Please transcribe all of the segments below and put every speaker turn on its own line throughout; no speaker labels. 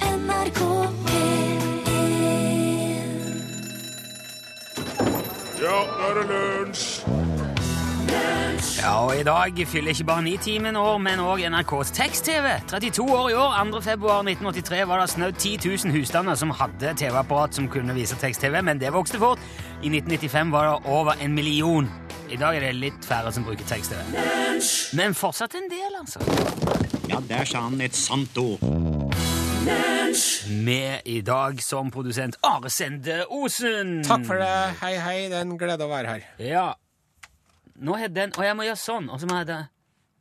NRK P1
Ja, nå er det lunsj!
Ja, og i dag fyller ikke bare Nitimen år, men òg NRKs tekst-TV. 32 år i år, 2. februar 1983, var det snaut 10 000 husstander som hadde TV-apparat som kunne vise tekst-TV, men det vokste fort. I 1995 var det over en million. I dag er det litt færre som bruker tekst-TV. Men fortsatt en del, altså.
Ja, der sa han et sant ord.
Med i dag som produsent Are Sende Osen.
Takk for det.
Mm.
Hei, hei. Det er en glede å være her.
Ja. Nå het den Og jeg må gjøre sånn, og så må jeg det.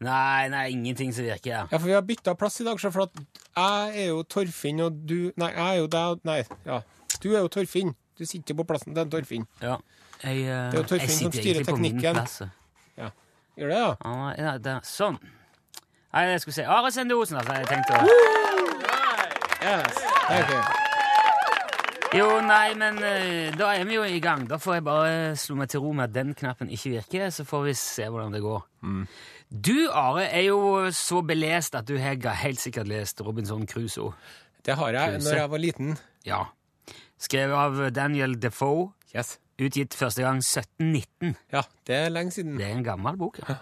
Nei, nei, ingenting som virker her.
Ja, for vi har bytta plass i dag, så for at jeg er jo Torfinn, og du Nei, jeg er jo deg, og Nei, ja. Du er jo Torfinn. Du sitter ikke på plassen til en Torfinn.
Ja. Jeg, eh,
Det er jo Torfinn
jeg
som
sitter
styrer
egentlig på min
teknikken.
plass, så.
Gjør det, ja?
Ah, ja, der. Sånn. Nei, jeg skulle si Are Sende Osen, altså. Jeg tenkte å-
Yes. Ja, ok.
Jo, nei, men eh, da er vi jo i gang. Da får jeg bare slå meg til ro med at den knappen ikke virker, så får vi se hvordan det går.
Mm.
Du, Are, er jo så belest at du har ga- helt sikkert lest Robinson Crusoe.
Det har jeg
Kruse.
når jeg var liten.
Ja. Skrevet av Daniel Defoe.
Yes.
Utgitt første gang 1719.
Ja, det er lenge siden.
Det er en gammel bok, ja.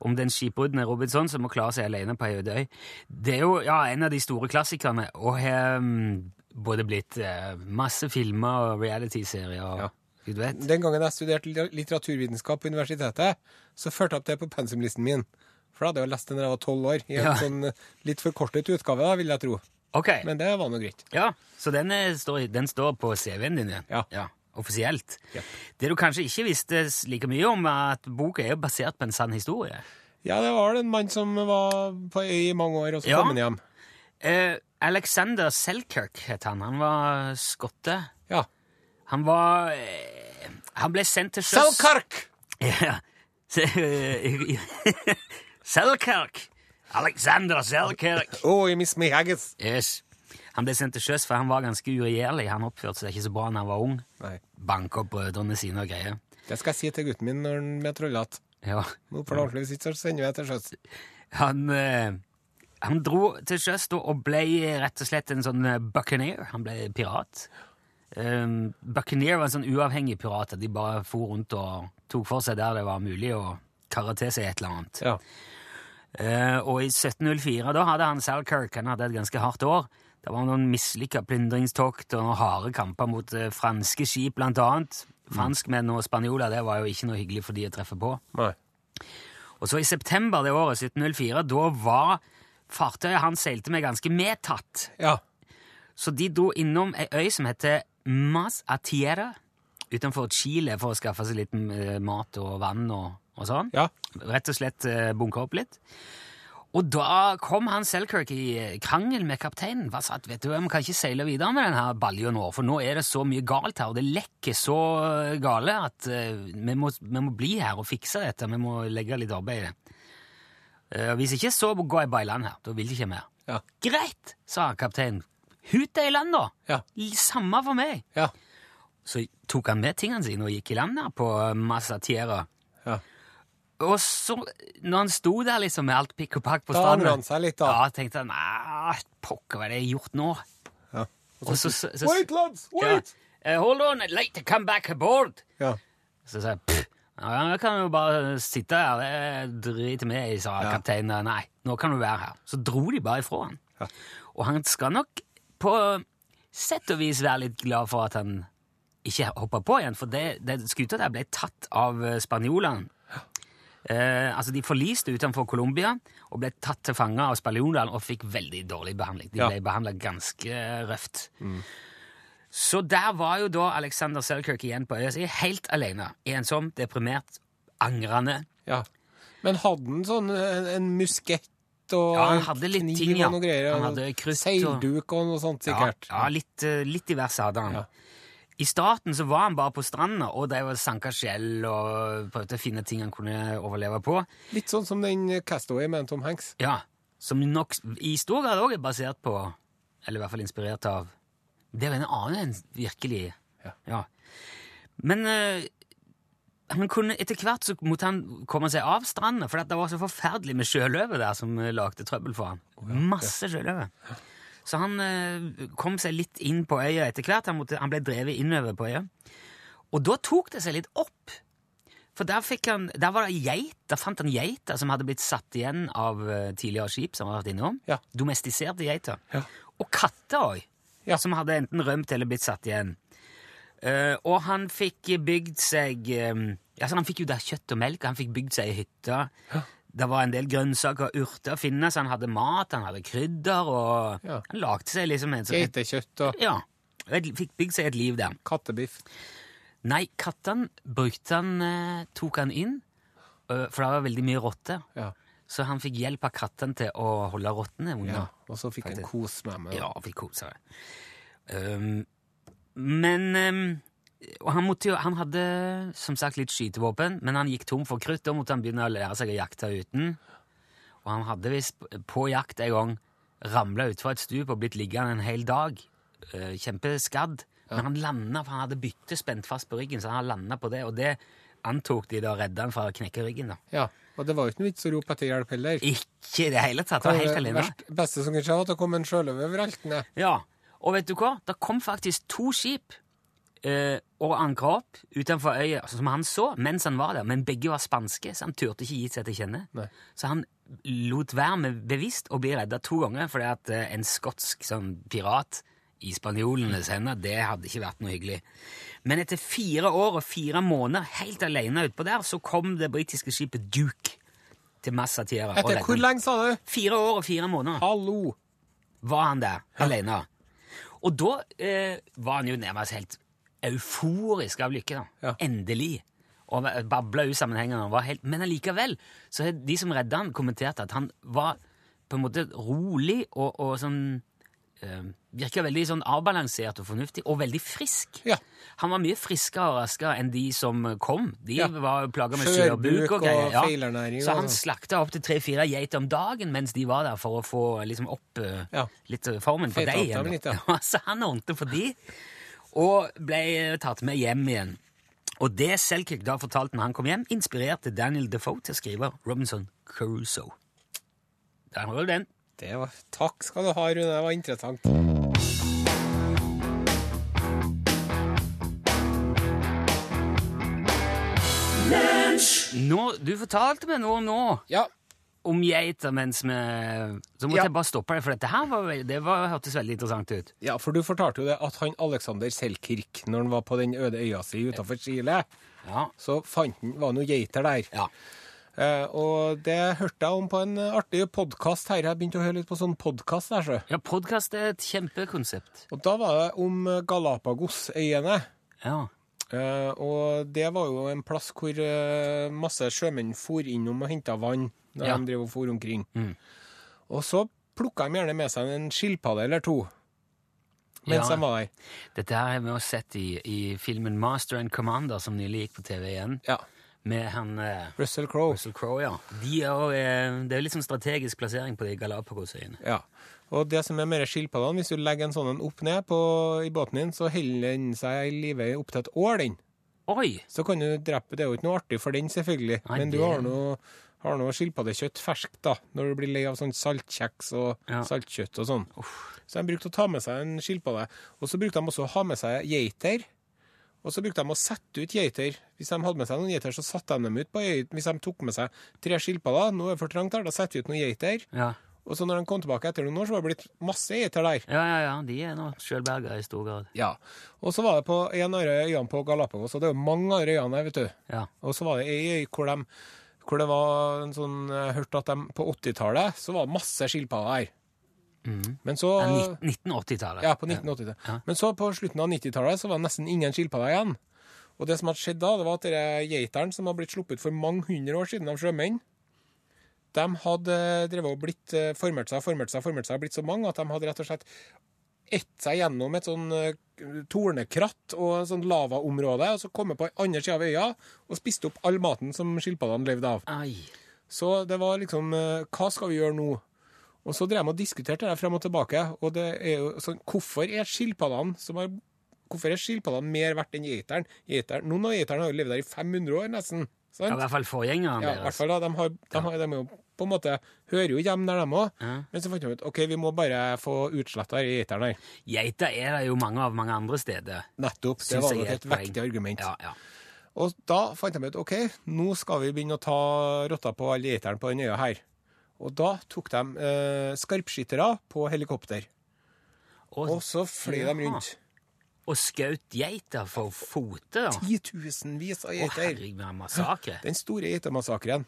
Om den skipbruddende Robinson som må klare seg alene på ei øde øy. Det er jo ja, en av de store klassikerne, og har mm, både blitt eh, masse filmer og realityserier og
Ja.
du vet.
Den gangen jeg studerte lit- litteraturvitenskap på universitetet, så førte jeg opp det på pensumlisten min. For da hadde jeg jo lest den da jeg var tolv år, i en
Ja.
sånn eh, litt forkortet utgave, da, vil jeg tro.
Ok,
Men det var nå greit.
ja, Så den, er, står, i- den står på CV-en din igjen?
Ja.
Offisielt.
Ja.
Det du kanskje ikke visste s- like mye om, er at boka er jo basert på en sann historie.
Ja, det var en mann som var på øy i mange år, og så
Ja.
kom han hjem.
Eh, Alexander Selkirk het han. Han var skotte.
Ja.
Han var eh, Han ble sendt til sjøs
Selkark!
Ja. Se- eh, Selkirk. Alexander Selkirk.
Oh, you miss me, Haggis.
Yes. Han ble sendt til sjøs, for han var ganske uregjerlig. Han oppførte seg ikke så bra da han var ung.
Nei.
Banka opp brødrene sine og greier.
Det skal jeg si til gutten min når han blir trollete.
Ja.
Nå får han ordentlig sitt, så sender jeg til sjøs.
Han, eh, han dro til sjøs da og ble rett og slett en sånn eh, buccaneer. Han ble pirat. Um, buccaneer var en sånn uavhengig pirat. at De bare for rundt og tok for seg der det var mulig, og karre til seg et eller annet.
Ja.
Eh, og i 1704 da hadde han Selkirk han hadde et ganske hardt år. Det var noen mislykka plyndringstokt og noen harde kamper mot eh, franske skip, blant annet. Franskmenn og spanjoler det var jo ikke noe hyggelig for de å treffe på.
Nei.
Og så i september det året, 1704, da var fartøyet han seilte med, ganske medtatt.
Ja.
Så de dro innom ei øy som heter Mas Atiera, utenfor Chile, for å skaffe seg litt eh, mat og vann og, og sånn
Ja.
rett og slett eh, bunka opp litt. Og da kom han Selkirk i eh, krangel med kapteinen. Hva sa at, vet du, hva, Vi kan ikke seile videre med denne balja nå, for nå er det så mye galt her, og det lekker så eh, gale at eh, vi, må, vi må bli her og fikse dette. Vi må legge litt arbeid i det. Eh, hvis ikke, så går jeg bare i land her. Da vil de ikke mer.
Ja.
Greit, sa kapteinen. Hut deg i land, da!
Ja.
Samme for meg.
Ja.
Så tok han med tingene sine og gikk i land her på Massatiera.
Ja.
Og så, når han sto der liksom med alt pikk og pakk på
Da
stranda
angrer han seg litt, da.
Ja, tenkte han nei, pokker, hva er det jeg har gjort nå?
Ja.
Og så, så, så,
Wait, lads!
ja,
Wait!
eh, Hold on, I'd like to come back aboard.
Ja.
Så sa jeg pff, ja, jeg kan jo bare sitte her, det driter vi i, sa
Ja.
kapteinen. Nei, nå kan du være her. Så dro de bare ifra han.
Ja.
Og han skal nok på sett og vis være litt glad for at han ikke hoppa på igjen, for det, det skuta der ble tatt av eh, spanjolene. Eh, altså De forliste utenfor Colombia og ble tatt til fange av spanjolene og fikk veldig dårlig behandling. De
Ja.
ble behandla ganske røft. Så der var jo da Alexander Selkirk igjen på øya si, helt alene. Ensom, deprimert, angrende.
Ja. Men hadde han sånn en, en muskett og
Ja, han hadde litt
kniv
ting, ja.
og noe greier?
Han
og
hadde krutt og-
Seilduk og noe sånt,
Ja,
sikkert.
ja litt, eh, litt diverse hadde han.
Ja.
I starten så var han bare på stranda og drev og sanka skjell og prøvde å finne ting han kunne overleve på.
Litt sånn som den Castaway med Tom Hanks.
Ja, Som nok s- i stor grad òg er basert på, eller i hvert fall inspirert av Det er jo en annen enn virkelig
Ja.
Men eh, han kunne, etter hvert så måtte han komme seg av stranda, for at det var så forferdelig med sjøløve der som eh, lagde trøbbel for han. Masse sjøløve. Så han eh, kom seg litt inn på øya etter hvert. Han, måtte, han ble drevet innover på øya. Og da tok det seg litt opp. For der, fikk han, der var det geit, der fant han geiter som hadde blitt satt igjen av eh, tidligere skip som har vært innom.
Ja.
Domestiserte geiter.
Ja.
Og katter òg,
Ja.
som hadde enten rømt eller blitt satt igjen. Eh, og han fikk bygd seg eh, altså Han fikk jo da kjøtt og melk, han fikk bygd seg ei hytte. Det var en del grønnsaker og urter å finne, så han hadde mat, han hadde krydder, og
Ja.
han lagde seg liksom en sånn
Geitekjøtt og
Ja. Et, fikk bygd seg et liv der.
kattebiff.
Nei, kattene brukte han eh, Tok han inn, eh, for det var veldig mye rotter.
Ja.
Så han fikk hjelp av kattene til å holde rottene unna.
ja. Og så fikk han
Faktisk.
kos med meg.
Ja, fikk kose seg. Um, men um, og han, måtte jo, han hadde som sagt litt skytevåpen, men han gikk tom for krutt. Da måtte han begynne å lære seg å jakte uten. Og han hadde visst på jakt en gang ramla utfor et stup og blitt liggende en hel dag. eh, kjempeskadd. Men han landa, for han hadde bytte spent fast på ryggen, så han landa på det. Og det antok de da redda han fra å knekke ryggen. da.
Ja, Og det var jo ikke noe vits å rope etter hjelp heller.
Ikke i det hele tatt. Han var helt alene.
verst- beste som kan skje, var at det kom en sjøløve vreltende.
Ja, og vet du hva? Det kom faktisk to skip eh, og ankra opp utenfor øya, altså, som han så mens han var der, men begge var spanske, så han turte ikke gi seg til kjenne.
Nei.
Så han lot være med bevisst å bli redda to ganger, fordi at eh, en skotsk sånn, pirat i spanjolenes hender, det hadde ikke vært noe hyggelig. Men etter fire år og fire måneder helt alene utpå der, så kom det britiske skipet Duke til Massatiera. og
Etter
redde
hvor
han.
lenge, sa du?
Fire år og fire måneder
Hallo!
var han der, alene. Og da eh, var han jo nærmest helt euforisk av lykke. da.
Ja.
Endelig. Og han babla usammenhengende. og var helt- Men allikevel så har de som redda han, kommentert at han var på en måte rolig og, og sånn eh, Virka veldig sånn avbalansert og fornuftig, og veldig frisk.
Ja.
Han var mye friskere og raskere enn de som kom. De
Ja.
var plaga med
Skjørbuk
sørbuk og
og
greier.
feilernæring
Så
og
han
sånn.
slakta opp til tre-fire geiter om dagen mens de var der, for å få liksom opp eh,
Ja.
litt eh, formen på
Feta
deg
opp
igjen.
dem litt,
da.
ja.
Ja, så han ordnet for de, og ble eh, tatt med hjem igjen. Og det Selkirk da fortalte når han kom hjem, inspirerte Daniel Defoe til å skrive Robinson Crusoe. Der har du den.
Det var, takk skal du ha, Rune. Det var interessant.
Nå, du fortalte meg noe nå
Ja,
om geiter mens vi Så måtte
Ja.
jeg bare stoppe deg, for dette her var, vel- det var, hørtes veldig interessant ut.
ja, for du fortalte jo det at han Alexander Selkirk, når han var på den øde øya si utenfor Chile,
Ja.
så fant han, var noen geiter der.
ja.
Eh, og det hørte jeg om på en eh, artig podkast her. Jeg begynte å høre litt på sånn podkast der, så.
Ja, podkast er et kjempekonsept.
Og da var det om Galapagos-øyene.
Ja.
Eh, og det var jo en plass hvor eh, masse sjømenn for innom og henta vann når
Ja. Mm.
de drev og for omkring. Og så plukka de gjerne med seg en skilpadde eller to mens
Ja.
de var der.
Dette her har vi også sett i, i filmen Master and Commander, som nylig gikk på TV igjen,
Ja.
med han eh,
Russell Crowe.
Russell Crowe, ja. De er, jo, eh, det er jo litt sånn strategisk plassering på de Galapagosøyene.
Ja. Og det som er med de skilpaddene, hvis du legger en sånn en opp ned på, i båten din, så holder den seg i live i opptil et år, den.
Oi!
Så kan du drepe Det er jo ikke noe artig for den, selvfølgelig,
Nei,
men du
det-
har noe har noe skilpaddekjøtt ferskt, da, når du blir lei av sånn saltkjeks og
Ja.
saltkjøtt og sånn. Så de brukte å ta med seg en skilpadde. Og så brukte de også å ha med seg geiter. Og så brukte de å sette ut geiter. Hvis de hadde med seg noen geiter, så satte de dem ut på øyet. Hvis de tok med seg tre skilpadder, nå er det for trangt her, da setter vi ut noen geiter.
Ja,
Og så når de kom tilbake etter noen år, så var det blitt masse geiter der.
ja, ja. ja. De er nå sjølberga i stor grad.
Ja. Og så var det på en av de øyene på Galapagos, og det er jo mange av de øyene her, vet du.
Ja.
Og så var det ei øy hvor, de, hvor det var en sånn Jeg hørte at de, på 80-tallet så var det masse skilpadder her. Men så
Det er nitt- 1980-tallet.
Ja, på 1980-tallet. Men så på slutten av 90-tallet så var det nesten ingen skilpadder igjen. Og det som hadde skjedd da, det var at dere geiteren som hadde blitt sluppet for mange hundre år siden av sjømenn, de hadde drevet og blitt eh, formert seg, formert seg, formert seg, blitt så mange at de hadde rett og slett ett seg gjennom et sånn eh, tornekratt og et sånt lavaområde, og så kommet på en annen side av øya og spist opp all maten som skilpaddene levde av.
Ai.
Så det var liksom eh, Hva skal vi gjøre nå? Og så drev jeg og diskuterte det frem og tilbake. Og det er jo sånn Hvorfor er skilpaddene som har Hvorfor er skilpaddene mer verdt enn geiteren? Geiteren- Noen av geiterne har jo levd der i 500 år, nesten.
Ja, I
Sant?
hvert fall forgjengeren
Ja, i hvert
deres.
fall da, de, har, de, har, de er jo på en måte hører jo hjemme der, de òg.
Ja.
Men så fant vi ut OK, vi må bare få utsletta geiteren her.
Geiter er det jo mange av mange andre steder.
Nettopp. Det
Synes
var
jeg
nok
er
et
poeng.
vektig argument.
Ja, ja.
Og da fant de ut OK, nå skal vi begynne å ta rotta på alle geiterne på den øya her. Og da tok de eh, skarpskyttere på helikopter.
Og,
Og så fløy de rundt.
og skaut geiter for fote, da.
Titusenvis av
Å,
geiter.
herregud, med massakre.
Den store geitemassakren.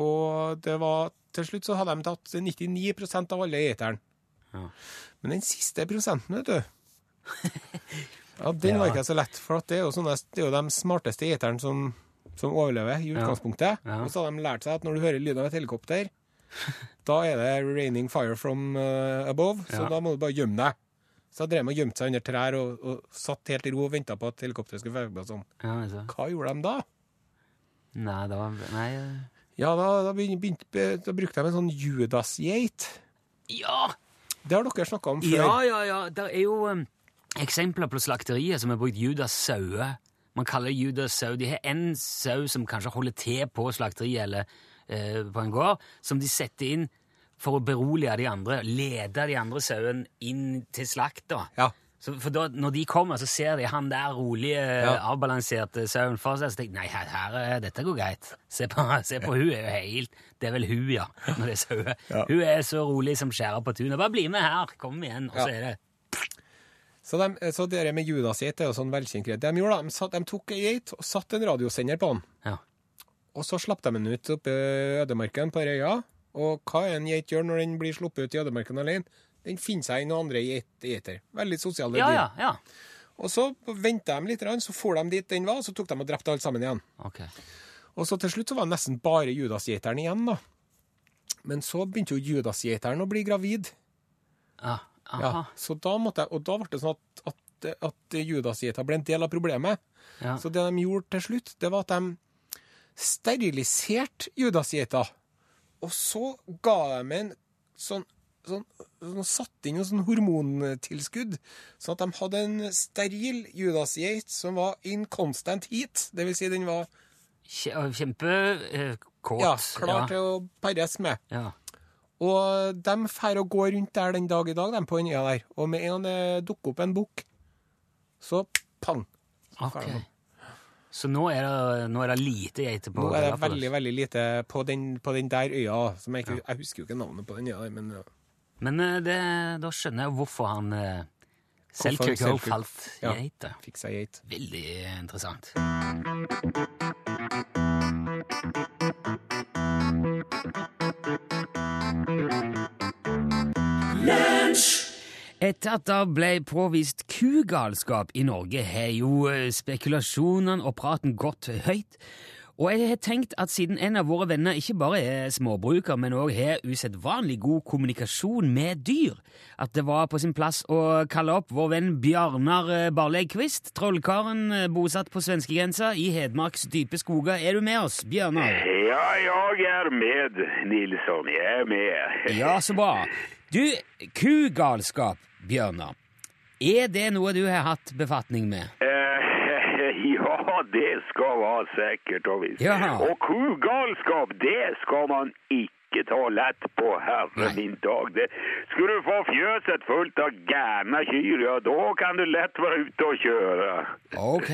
Og det var, til slutt så hadde de tatt 99 av alle geitene.
Ja.
Men den siste prosenten, vet du Ja, Den var
Ja.
ikke så lett, for at det er jo, sånne, det er jo de smarteste geiterne som, som overlever i utgangspunktet.
Ja.
Og så har de lært seg at når du hører lyden av et helikopter, da er det 'raining fire from eh, above', så
Ja.
da må du bare gjemme deg. Så jeg drev med å gjemte seg under trær og, og satt helt i ro og venta på at helikopteret skulle fære på oss. Sånn.
Ja, altså.
Hva gjorde de da?
Nei, det var Nei. eh.
Ja, da, da, begyn- begynte, be- da brukte de en sånn Judas-geit.
Ja!
Det har dere snakka om før.
Ja, ja, ja. Det er jo um, eksempler på slakterier som har brukt Judas sauer. Man kaller det Judas sau. De har en sau som kanskje holder til på slakteriet eller eh, på en gård, som de setter inn for å berolige de andre, lede de andre sauene inn til slakt. da.
Ja.
Så, for da, når de kommer, så ser de han der rolige,
Ja.
avbalanserte sauen for seg, så tenker de, nei, her, her, er- dette går greit. Se på, se på hun, er jo helt, det er vel hun, ja, når det er sauer. Hun er så rolig som skjærer på tunet. Bare bli med her, kom igjen, og så
Ja.
er det.
Så, de, så det der med Judas-geit er jo sånn velkjent greie. De, gjorde da, de, satt, de tok ei geit og satte en radiosender på den.
Ja.
Og så slapp de den ut oppe i ødemarken på øya. Og hva er en geit gjør når den blir sluppet ut i ødemarken alene? Den finner seg i noen andre geit- geiter. Veldig sosiale
ja,
dyr.
ja, ja.
Og så venta de litt, grann, så for de dit den var, og så tok de og drepte alle sammen igjen.
Ok.
Og så til slutt så var det nesten bare Judas-geiteren igjen, da. Men så begynte jo Judas-geiteren å bli gravid.
Ja, aha.
Ja, så da måtte jeg, og da ble det sånn at, at, at Judas-geita ble en del av problemet.
Ja.
Så det de gjorde til slutt, det var at de steriliserte Judas-geita. Og så ga de en sånn Sånn, sånn, satt inn noe sånn hormontilskudd, sånn at de hadde en steril Judas-geit som var in constant heat. Det vil si, den var
Kje- og Kjempe eh, kåt.
ja, klar
ja.
til å pares med.
Ja.
Og de fær og går rundt der den dag i dag, de på den øya der. Og med en gang det dukker opp en bukk, så pang. Så
Ok.
fær de.
Så nå er det, nå er det lite geiter på. altså.
Nå er det
Galapagos.
veldig, veldig lite på den, på den der øya. Som jeg, ikke, jeg husker jo ikke navnet på den øya, der, men ja.
Men eh, det, da skjønner jeg hvorfor han eh, Selkirk har
Selkirk-
kalt
ja.
geiter.
fikk seg geit.
Veldig interessant. Etter at det ble påvist kugalskap i Norge, har jo eh, spekulasjonene og praten gått høyt. Og jeg har tenkt at siden en av våre venner ikke bare er småbruker, men òg har usedvanlig god kommunikasjon med dyr, at det var på sin plass å kalle opp vår venn Bjarnar eh, Barlegkvist, trollkaren eh, bosatt på svenskegrensa i Hedmarks dype skoger. Er du med oss, Bjarnar?
Ja, jeg er med, Nilsson. Jeg er med.
Ja, så bra. Du, kugalskap, Bjørnar. Er det noe du har hatt befatning med?
Eh, Ja, det skal være sikkert og visst.
Jaha.
Og kugalskap, det skal man ikke ta lett på, herre
Nei.
min dag. Det, skulle du få fjøset fullt av gærne kyr, ja, da kan du lett være ute og kjøre.
Ok,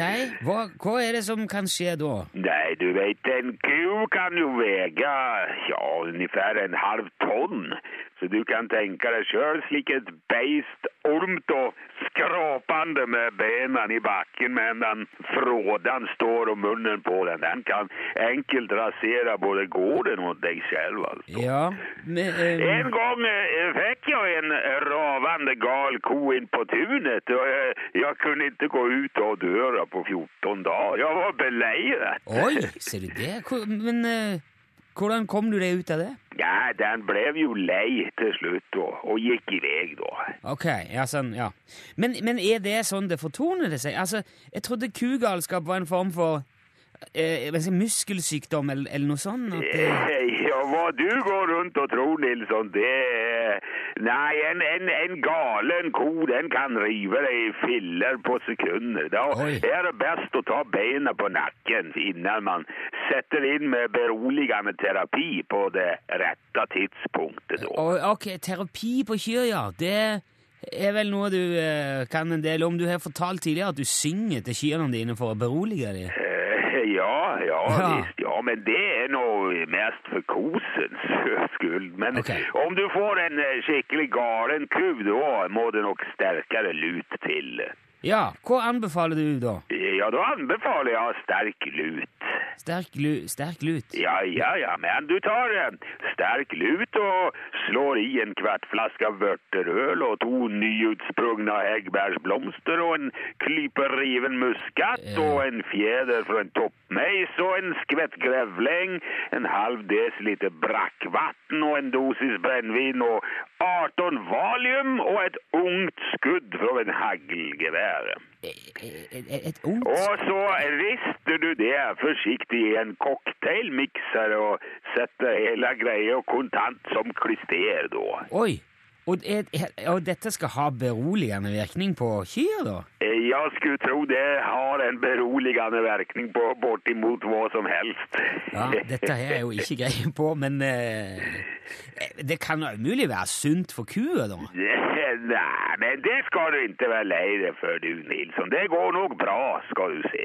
hva, hva er det som kan skje da?
Nei, du vet, en ku kan jo vege ja, ungefär en halv tonn. Så du kan tenke deg sjøl slik et beist ormt og skrapende med bena i bakken medan frådan står og munnen på den. Den kan enkelt rasere både gården og deg selv, altså.
Ja, men, eh,
En gang eh, fikk jeg en ravende gal ko inn på tunet, og eh, jeg kunne ikke gå ut av døra på 14 dager. Jeg var beleiret.
Oi, ser du det? Hvor- Men eh, hvordan kom du deg ut av det?
Ja, den ble jo lei til slutt og, og gikk i vei da.
Ok, ja, sånn, ja. Men, men er det sånn det fortoner det seg? Altså, jeg trodde kugalskap var en form for eh, hva skal jeg si, muskelsykdom eller, eller noe sånn. At, eh,
Eh, Ja, hva du går rundt og tror, Nilsson, det, Nei, en, en, en galen ko den kan rive deg i filler på sekunder. Da
Oi.
er det best å ta beina på nakken innan man setter inn med beroligende terapi på det rette tidspunktet. Da.
Og, ok, terapi på kyr, ja. Det er vel noe du eh, kan en del om. Du har fortalt tidligere at du synger til kyrne dine for å berolige dem.
Eh, Ja, ja,
Ja.
visst. Ja, men det er noe mest for kosens skyld. Men
Ok.
om du får en eh, skikkelig galen ku, da må det nok sterkere lut til.
Ja, hva anbefaler du da?
Ja, da anbefaler jeg sterk lut.
Sterk, lu, sterk lut?
Ja, ja, ja, men du tar eh, sterk lut og slår i en kvartflaske vørterøl og to nyutsprungna heggbærsblomster og en klype riven muskat og en fjeder fra en toppmeis og en skvett grevling, en halv desiliter brakkvann og en dosis brennevin og 18 valium og et ungt skudd fra en haglgevær.
E, Et, et, et ungt
Og så rister du det forsiktig i en cocktailmikser og setter hele greia kontant som klister, da.
Oi! Og, et, og dette skal ha beroligende virkning på kyr, da?
Jeg skulle tro det har en beroligende virkning på bortimot hva som helst.
Ja, dette her er jo ikke greie på, men eh, Det kan da umulig være sunt for kua, da?
Nei, men det skal du ikke være lei deg for, du, Nilsson. Det går nok bra, skal du se.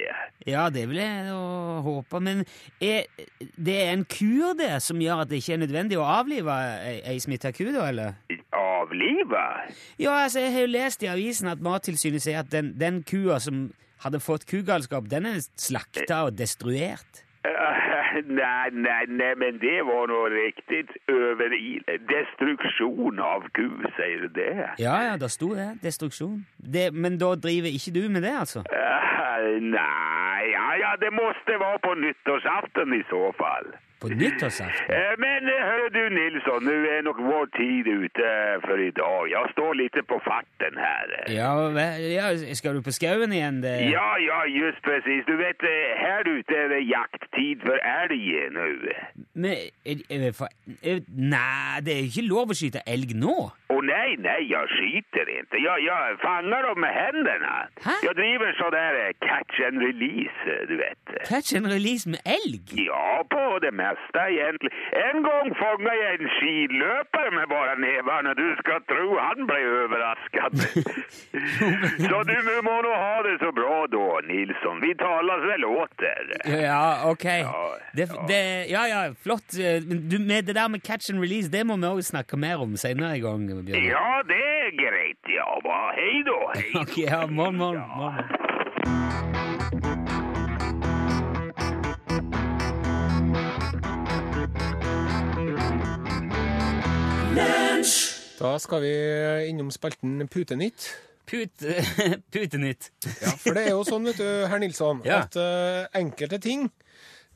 Ja, det vil jeg da håpe, men er det er en kur der som gjør at det ikke er nødvendig å avlive ei, ei smitta ku, da, eller?
Avlive?
Ja, altså, jeg har jo lest i avisen at Mattilsynet sier at den, den kua som hadde fått kugalskap, den er slakta og destruert.
Eh, Nei, nei, nei, men det var nå riktig overil. Destruksjon av ku, sier du det?
Ja, ja, der sto det. Destruksjon. Det, men da driver ikke du med det, altså?
Eh, Nei, ja, ja, det måste vara på nyttårsafton i så fall.
På nyttårsaften?
Eh, Men eh, hörru du Nilsson, nu är nog vår tid ute för idag. Jag står lite på farten här.
Ja, hva- ja, skal du på skauen igjen? Det?
Ja, ja, just precis. Du vet, eh, här ute är det jakttid för älg nu.
Men, er, er, for, er, nei, det er jo ikke lov å skyte elg nå.
Och nej, nej, jag skiter inte. Jag, jag fångar dem med händerna.
Hä?
Jag driver så där eh, catch and release, eh, du vet.
Catch and release med elg?
Ja, på det meste, egentlig. En gang fanga jeg en skiløper med bare nevene. Du skal tro han ble overrasket. så du må nå ha det så bra da, Nilsson. Vi tales vel åter.
Ja, ok.
Ja,
Det, det, ja, ja, flott. Men du, med det der med catch and release, det må vi også snakke mer om senere i gang, Bjørn.
Ja, det er greit. Ja, hva? Hei da. Hei.
Ok, ja, morgen, morgen, morgen.
Da skal vi innom spalten Putenytt.
Pute, putenytt.
Ja, for det er jo sånn, vet du, herr Nilsson,
Ja.
at eh, enkelte ting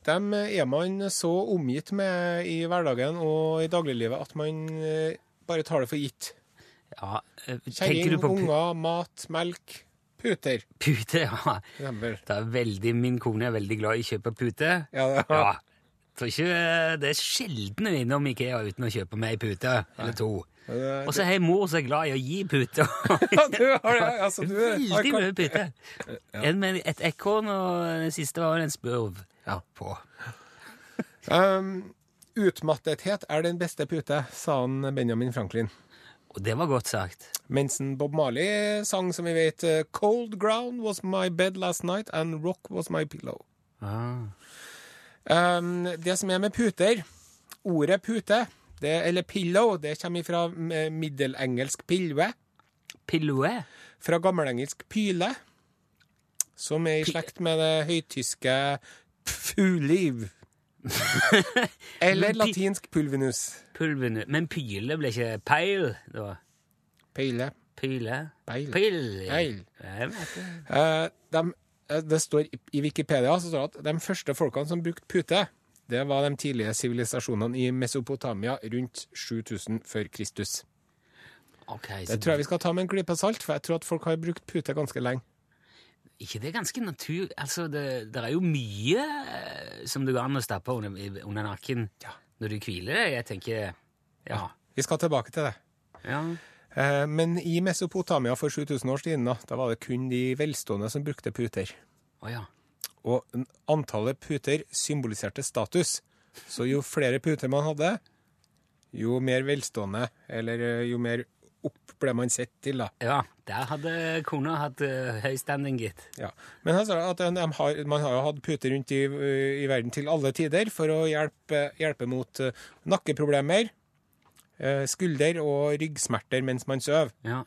dem er man så omgitt med i hverdagen og i dagliglivet at man eh, bare tar det for gitt.
Ja, eh, tenker
Kjerring,
du på pu-
unger, mat, melk, puter.
pute? Ja.
for eksempel.
Det er veldig, min kone er veldig glad i å kjøpe pute.
Ja, det-
Ja. Tror ikke eh, det er sjelden hun er innom Ikea uten å kjøpe meg ei pute eller to.
det-
Og så har jeg mor som er glad i å gi puter.
Eh, Ja, du har det, altså, du har
Veldig
kar-
mye pute. En med et ekorn, og den siste var en spurv på.
Um, utmattethet er den beste pute, sa han Benjamin Franklin.
Og det var godt sagt.
Mens en Bob Marley sang, som vi vet, eh, Cold ground was my bed last night and rock was my pillow.
Ah.
Um, det som er med puter Ordet pute, det, eller pillow, det kommer fra eh, middelengelsk pilve,
Piloé.
fra gammelengelsk pyle, som er i slekt med det høytyske pfuliv. eller
Men pi-
latinsk pulvinus.
Pulvene. Men pyle ble ikke peil, da?
Peile.
Pyle?
Peil.
Pil.
Peil.
Jeg vet det.
Eh, dem- eh, det står i- I Wikipedia så står det at de første folkene som brukte pute, det var de tidlige sivilisasjonene i Mesopotamia rundt 7000 før Kristus.
Ok, så
Det tror jeg vi skal ta med en klype salt, for jeg tror at folk har brukt pute ganske lenge.
ikke det er ganske natur... Altså, det, det er jo mye eh, som det går an å stappe under, i- under nakken når du hviler deg. Jeg tenker Ja.
Vi skal tilbake til det.
Ja.
Eh, Men i Mesopotamia for 7000 år siden da, da var det kun de velstående som brukte puter.
Å ja.
Og n- antallet puter symboliserte status. Så jo flere puter man hadde, jo mer velstående, eller eh, jo mer opp ble man sett til, da.
Ja, der hadde kona hatt eh, høy standing, gitt.
Ja. Men altså, at de har, man har jo hatt puter rundt i, i verden til alle tider for å hjelpe, hjelpe mot eh, nakkeproblemer, eh, skulder- og ryggsmerter mens man sover.
Ja.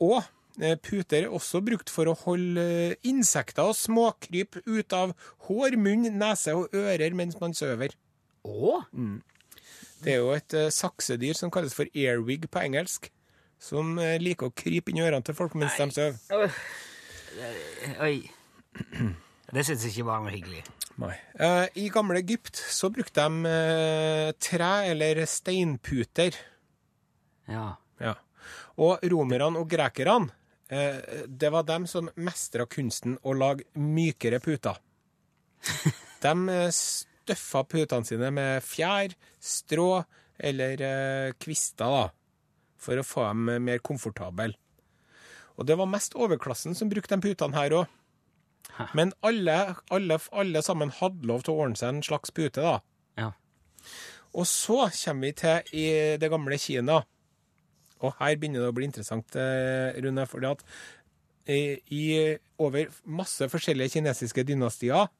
Og eh, puter er også brukt for å holde eh, insekter og småkryp ut av hår, munn, nese og ører mens man sover.
Å?
Det er jo et eh, saksedyr som kalles for airwig på engelsk, som eh, liker å krype inn i ørene til folk mens de sover.
Øh, Oi. Det syns jeg ikke var noe hyggelig.
Eh, I gamle Egypt så brukte de eh, tre eller steinputer.
Ja.
Ja. Og romerne og grekerne, eh, det var dem som mestra kunsten å lage mykere puter. De eh, støffa putene sine med fjær, strå eller eh, kvister, da, for å få dem eh, mer komfortable. Og det var mest overklassen som brukte de putene her òg. Men alle, alle, alle sammen hadde lov til å ordne seg en slags pute, da.
Ja.
Og så kommer vi til i det gamle Kina. Og her begynner det å bli interessant, eh, Rune. fordi at i, i over masse forskjellige kinesiske dynastier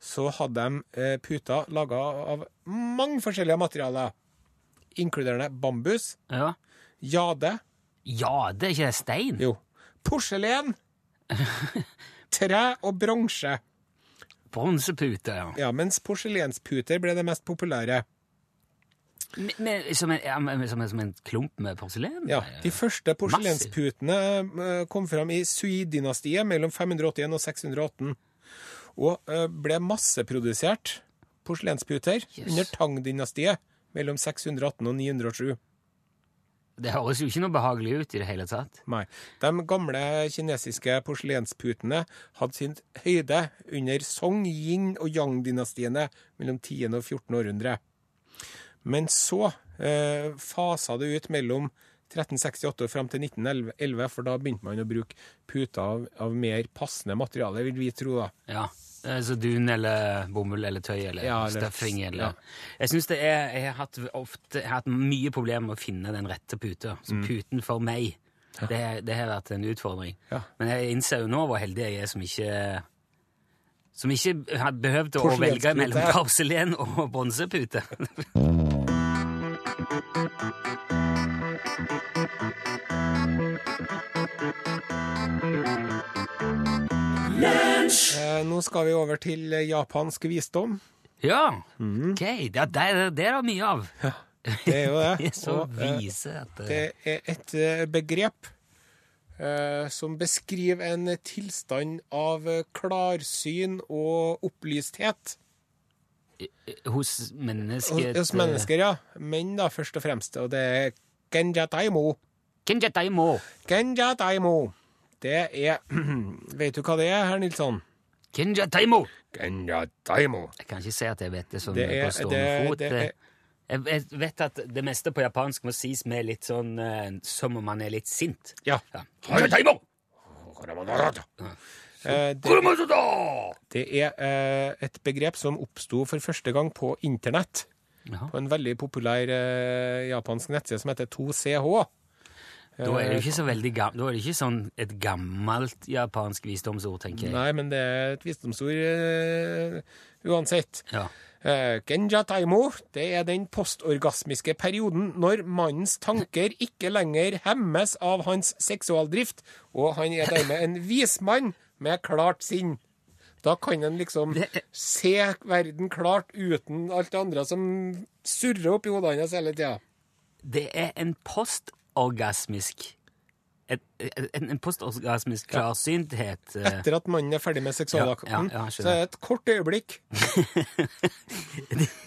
så hadde de eh, puter laga av mange forskjellige materialer. Inkluderende bambus,
Ja,
jade,
ja det er ikke stein.
jo, porselen, tre og bronse.
Bronsepute, ja.
Ja, mens porselensputer ble det mest populære.
Men, men, som, en, ja, men, som, en, som en klump med porselen?
Ja, De første porselensputene eh, kom fram i Sui-dynastiet mellom 581 og 618, og eh, ble masseprodusert porselensputer
Yes.
under Tang-dynastiet mellom 618 og 907.
Det høres jo ikke noe behagelig ut i det hele tatt.
Nei. De gamle kinesiske porselensputene hadde sin høyde under Song, Yin og Yang-dynastiene mellom 10. og 14. århundre. Men så eh, fasa det ut mellom 1368 og fram til 1911, for da begynte man å bruke puter av, av mer passende materiale, vil vi tro, da.
Ja, eh, Så dun eller bomull eller tøy eller
Ja, eller-
stuffing eller
ja.
Jeg syns det er Jeg har hatt, ofte, jeg har hatt mye problemer med å finne den rette puta. Så
Mm.
puten for meg, det, det har vært en utfordring.
Ja.
Men jeg innser jo nå hvor heldig jeg er som ikke som ikke har behøvd å velge
Porselenspute.
mellom porselen og bronsepute.
Eh, nå skal vi over til eh, japansk visdom.
ja, Mm. ok. Ja, det, er- det er det mye av.
Det er jo
De
det.
er så
Og, eh,
vise at det-
Det er et eh, begrep eh, som beskriver en tilstand av eh, klarsyn og opplysthet
hos
hos,
mennesket eh,
hos mennesker, ja. Menn, da, først og fremst. Og det er genja daimo.
Kenja Daimo.
Genja daimo. Det er Vet du hva det er, herr Nilsson?
Kenja Daimo.
Genja daimo.
Jeg kan ikke si at jeg vet det sånn
Det er-
på stående
det-
fot.
det er-
jeg, jeg vet at det meste på japansk må sies med litt sånn eh, som om man er litt sint.
Ja.
Ja. Kenja Daimo!
Eh, det,
Kurumazuda!
det er eh, et begrep som oppsto for første gang på internett.
Ja.
På en veldig populær eh, japansk nettside som heter 2CH.
Da er det
Eh,
jo ikke så veldig gam Da er det ikke sånn et gammelt japansk visdomsord, tenker jeg.
Nei, men det er et visdomsord eh, uansett.
Ja.
Eh, Genja taimo, det er den postorgasmiske perioden når mannens tanker ikke lenger hemmes av hans seksualdrift, og han er dermed en vismann med klart sinn. Da kan en liksom
Det-
se verden klart uten alt det andre som surrer opp i hodet hans hele tida.
Det er en postorgasmisk et, et- en, en postorgasmisk klarsynthet. eh,
Etter at mannen er ferdig med seksualakten,
Ja, ja, ja, skjønner.
så er det et kort øyeblikk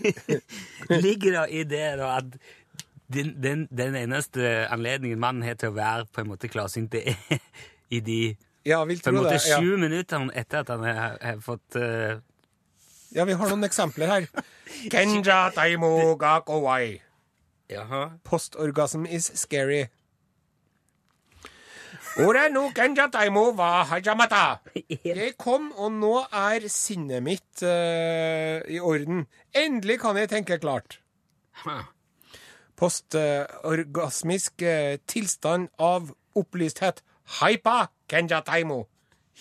ligger det i det da at den, den, den eneste anledningen mannen har til å være på en måte klarsynt, det er i de
Ja, vil
på
tro
en måte
det. Ja.
sju minutter etter at han har, har fått eh,
ja, vi har noen eksempler her. Genja taimo gakowai.
Jaha.
Postorgasm is scary. Ora no kenja taimo wa hajamata. Jeg kom, og nå er sinnet mitt eh, i orden. Endelig kan jeg tenke klart. Postorgasmisk eh, tilstand av opplysthet. Hypa kenja taimo.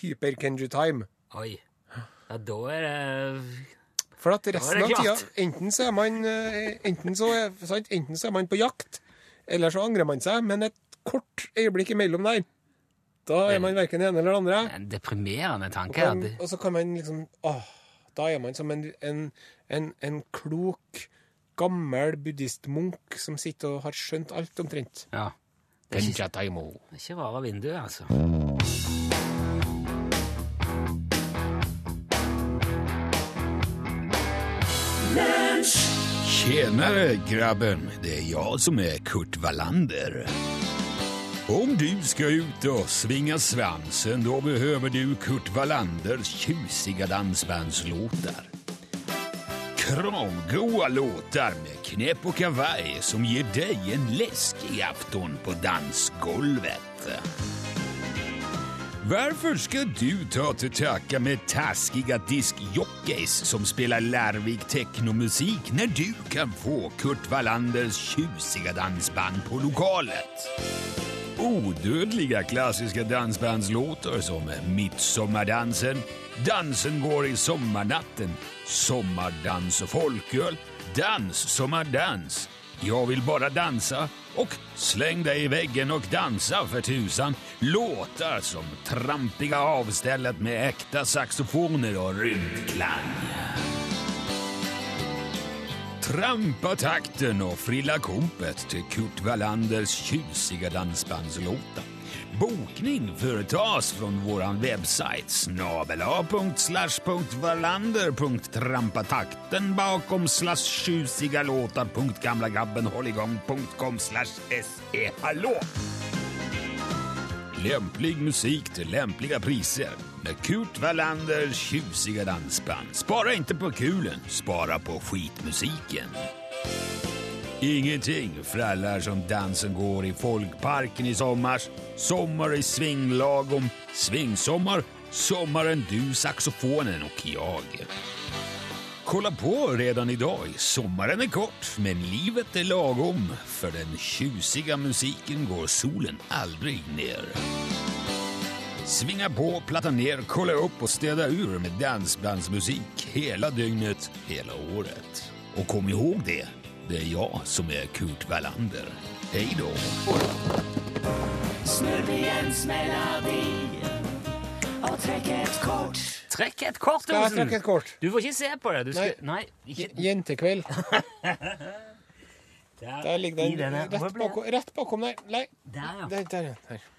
Hyper kenju time.
Oi. Ja, da er det
For at
er
resten
det
av tida,
klart.
enten så er man eh, enten så er, sant? enten så er man på jakt, eller så angrer man seg, men et kort øyeblikk imellom der, da er man verken det ene eller det andre.
en deprimerende tanke.
Kan,
at Mm. det-
og så kan man liksom åh, Da er man som en, en, en, en klok, gammel buddhistmunk som sitter og har skjønt alt omtrent.
Ja. Det er ikke,
Kenja Taimo.
det er ikke rare vinduet, altså.
Tjenare grabben, det är jag som är Kurt Wallander. Om du ska ut och svinga svansen då behöver du Kurt Wallanders tjusiga dansbandslåtar. Kravgoa låtar med knäpp och kavaj som ger dig en läskig afton på dansgolvet. Varför ska du ta till tacka med taskiga diskjockeys som spelar larvig technomusik när du kan få Kurt Wallanders tjusiga dansband på lokalet? Odödliga klassiska dansbandslåtar som Midsommardansen, Dansen går i sommarnatten, Sommardans och folköl, Dans sommardans, Jag vill bara dansa och Släng dig i väggen och dansa för tusan. Låtar som trampiga avstället med äkta saxofoner och rymdklang. Trampa takten och frilla kompet till Kurt Wallanders tjusiga dansbandslåtar. Bokning företas från våran webbsajt snabela.slash.wallander.trampatakten bakom slash tjusiga låtar punkt gamlagrabbenholligång.com slash se. Hallå! Lämplig musik till lämpliga priser med Kurt Wallanders tjusiga dansband. Spara inte på kulen, spara på skitmusiken. Ingenting frallar som dansen går i folkparken i sommars, sommar i svinglagom, svingsommar, sommaren du, saxofonen och jag. Kolla på redan idag. Sommaren är kort, men livet är lagom. För den tjusiga musiken går solen aldrig ner. Svinga på, platta ner, kolla upp och städa ur med dansbandsmusik hela dygnet, hela året. Och kom ihåg det, det är jag som är Kurt Wallander. Hej då!
Trekk et kort,
Da trakk
Olsen!
jeg et kort.
Du får ikke se på det. Du skal, nei.
J-
ikke
Jentekveld.
der,
Der ligger
i
den.
denne. Hvor
Rett
ble
bakom, rett bakom der. Nei,
Der, ja.
der, der, ja. der.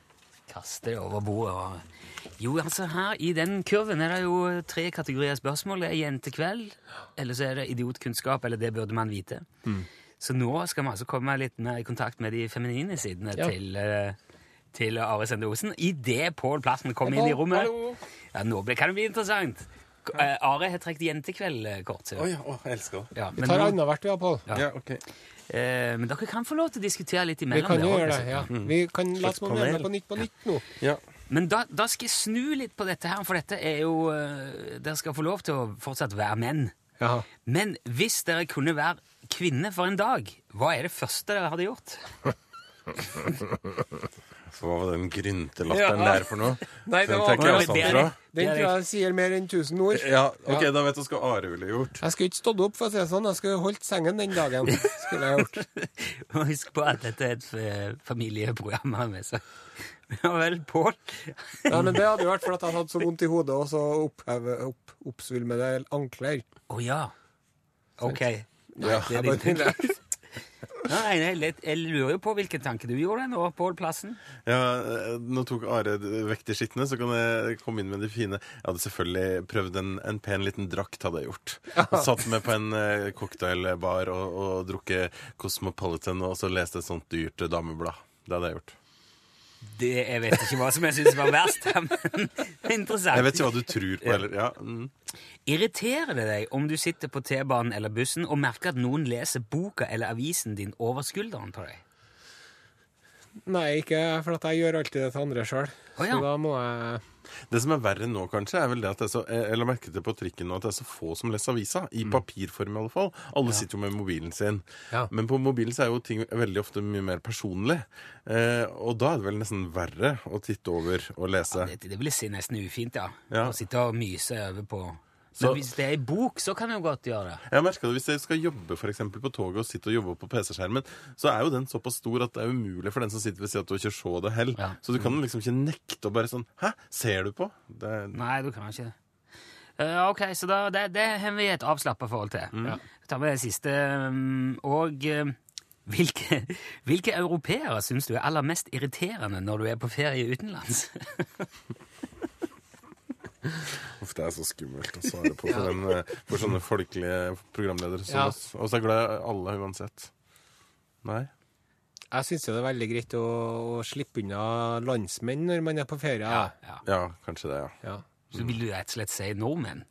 Kaste det over bordet. Og... Jo, altså her i den kurven er det jo tre kategorier spørsmål. Det er jentekveld, eller så er det idiotkunnskap, eller det burde man vite. Så nå skal vi altså komme litt mer i kontakt med de feminine sidene
Ja.
til, eh, til Are Sende Osen. Idet Pål Plassen kom inn i
Hallo,
rommet
hallo.
ja, Nå ble, kan det bli interessant. K- eh, Are har trukket jentekveld-kort. ser du.
Oi, å, jeg elsker det.
Ja,
Vi
men,
tar
nå,
annethvert, vi, ja, Pål.
Ja, ok.
eh, men dere kan få lov til å diskutere litt
Vi
imellom.
kan jo
dere,
gjøre det.
altså.
ja. Vi kan la oss
panel.
på nytt på nytt nå.
Ja.
Men da, da skal jeg snu litt på dette her, for dette er jo eh, Dere skal få lov til å fortsatt være menn.
Ja.
Men hvis dere kunne være kvinne for en dag, hva er det første dere hadde gjort?
Så hva var den gryntelatteren
Ja.
der for noe?
Nei, det
Den
var
tenker jeg
akkurat
sånn
det er
fra.
det.
Den tror jeg sier mer enn 1000 ord.
Ja, ok, da vet du hva Are ville gjort.
Jeg skulle ikke stått opp, for å si det sånn. Jeg skulle holdt sengen den dagen. skulle jeg gjort.
Og Husk på at dette er et eh, familieprogram. her med, så. Ja vel, Pål.
Nei, men Det hadde jo vært fordi jeg hadde så vondt i hodet og så oppheve, opp, oppsvulmede ankler.
Å ja. Ok.
Ja.
Det er din tanke. Nei, nei, litt- jeg lurer jo på hvilken tanke du gjorde nå, Pål Plassen.
Ja, eh, nå tok Are vekk de skitne, så kan jeg komme inn med de fine. Jeg hadde selvfølgelig prøvd en, en pen liten drakt, hadde jeg gjort. Satt med på en eh, cocktailbar og, og drukket Cosmopolitan og så leste et sånt dyrt dameblad. Det hadde jeg gjort.
Det, jeg vet ikke hva som jeg syns var verst, her, men interessant.
Jeg vet ikke hva du tror på, eller Ja. Mm.
Irriterer det deg om du sitter på T-banen eller bussen og merker at noen leser boka eller avisen din over skulderen på deg?
Nei, ikke jeg, for at jeg gjør alltid det til andre sjøl.
Å, ja.
Så da må jeg
Det som er verre nå, kanskje, er vel det at det er så, jeg la merke til på trikken nå at det er så få som leser avisa.
Mm.
I papirform, i alle fall. Alle sitter jo med mobilen sin.
Ja.
Men på mobilen så er jo ting veldig ofte mye mer personlig. Eh, og da er det vel nesten verre å titte over og lese.
Det, det vil jeg si nesten ufint, ja.
Ja.
Å sitte og myse over på
Så-
Men hvis det er i bok, så kan jeg jo godt gjøre det.
Jeg har merket det Hvis jeg skal jobbe for eksempel, på toget og sitte og jobbe på PC-skjermen, så er jo den såpass stor at det er umulig for den som sitter ved siden av og ikke se det heller.
Ja. Mm.
Så du kan liksom ikke nekte og bare sånn Hæ, ser du på? Det er,
Nei, du kan ikke det. Eh, ok, så da, det, det har vi et avslappa forhold til.
Mm.
Ja. Ta med det siste. mm, Og eh, hvilke, hvilke europeere syns du er aller mest irriterende når du er på ferie utenlands?
Uff, det er så skummelt å svare på for, en, eh, for sånne folkelige programledere som
Ja.
oss. Og så er jeg glad i alle uansett. Nei.
Jeg syns det er veldig greit å, å slippe unna landsmenn når man er på ferie. Ja.
Ja.
Ja, kanskje det, ja.
Ja.
Så vil du rett og slett si nordmenn.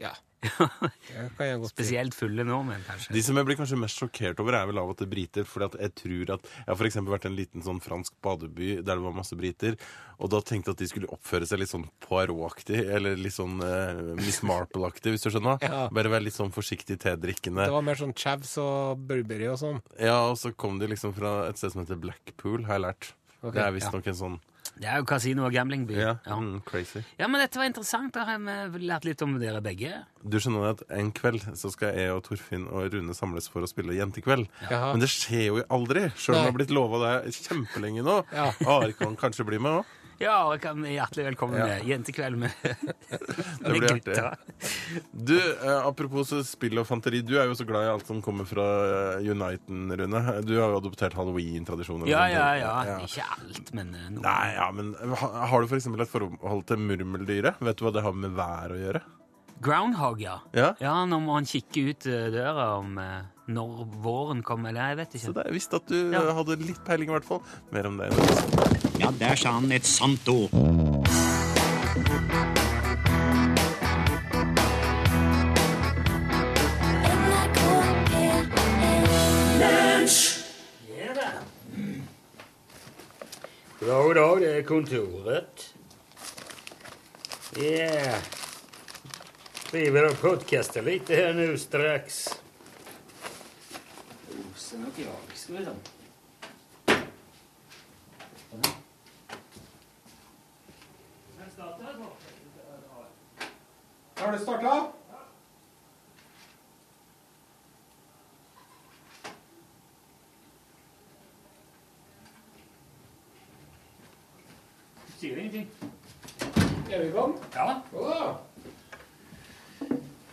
Det kan jeg godt si.
Spesielt fulle nordmenn, kanskje.
De som jeg blir kanskje mest sjokkert over, er vel av at det er briter. fordi at jeg tror at Jeg har for eksempel vært i en liten sånn fransk badeby der det var masse briter, og da tenkte jeg at de skulle oppføre seg litt sånn Poirot-aktig, eller litt sånn eh, Miss Marple-aktig, hvis du skjønner.
Ja.
Bare være litt sånn forsiktig tedrikkende.
Det var mer sånn Chavs og Burberry og sånn.
Ja, og så kom de liksom fra et sted som heter Blackpool, har jeg lært.
Ok,
det er visstnok en sånn
Det er jo kasino og gamblingby.
ja,
Ja.
Mm, crazy.
ja, men dette var interessant. Da har vi lært litt om dere begge.
Du skjønner at en kveld så skal jeg og Torfinn og Rune samles for å spille jentekveld.
Jaha.
Men det skjer jo aldri, sjøl om jeg
Nei.
har blitt lova det kjempelenge nå.
Ja.
Ari kan kanskje bli med òg.
Ja, og kan vi hjertelig velkommen
Ja.
med Jentekveld med, med
blir artig.
gutta.
Du, eh, apropos spill og fanteri, du er jo så glad i alt som kommer fra eh, Uniten, Rune. Du har jo adoptert halloween-tradisjoner. og
Ja,
sånt.
ja, ja. Ikke alt, men eh, noe.
Nei, ja, men ha, Har du for eksempel et forhold til murmeldyret? Vet du hva det har med vær å gjøre?
Groundhog, ja.
Ja?
Nå må han kikke ut eh, døra om eh, når våren kommer. Eller jeg vet
Så
ikke.
det, jeg visste at du
Ja.
eh, hadde litt peiling, i hvert fall. Mer om det. i dag.
Ja, der sa han et sant ord.
Ja da, det er kontoret. Ja. Driver og podkaster litt her nå straks. Oser nok jag, skal vi se.
Har du starta?
Sier ingenting.
Er vi i gang?
Ja.
Jo da.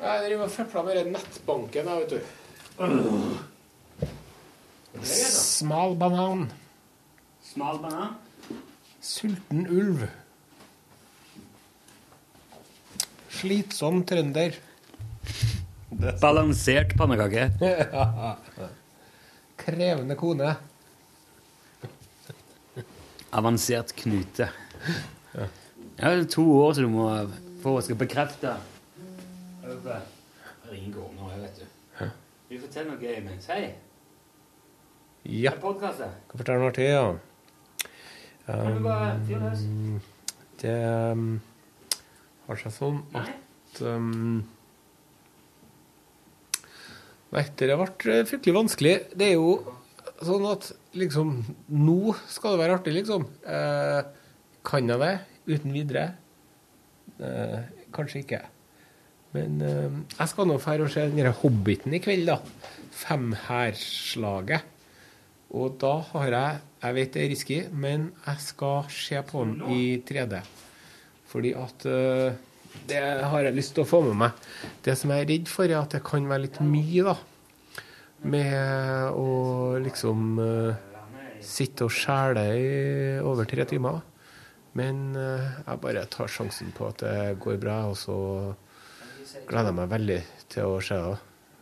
Jeg driver og føpla med den nettbanken, jeg, vet du. Smal banan.
Smal banan.
Sulten ulv. Slitsom trønder.
Balansert pannekake.
Krevende kone.
Avansert knute. Ja, det er to år til du må for å skal bekrefte. Ringår nå, jeg vet du. Vi forteller noe imens. Hei, det
Ja.
er podkastet.
Kan fortelle noe til, ja.
Kan du bare fyre løs?
Det um, har seg sånn at um, Nei, det har vært eh, fryktelig vanskelig. Det er jo sånn at liksom Nå skal det være artig, liksom. Eh, kan jeg det uten videre? Eh, kanskje ikke. Men eh, jeg skal nå dra og se den derre Hobbiten i kveld, da. Femhærslaget. Og da har jeg Jeg vet det er risky, men jeg skal se på den i 3D. Fordi at eh, Det har jeg lyst til å få med meg. Det som jeg er redd for, er at det kan være litt mye, da. Med å liksom eh, sitte og skjæle i over tre timer. Men eh, jeg bare tar sjansen på at det går bra, og så gleder jeg meg veldig til å se det.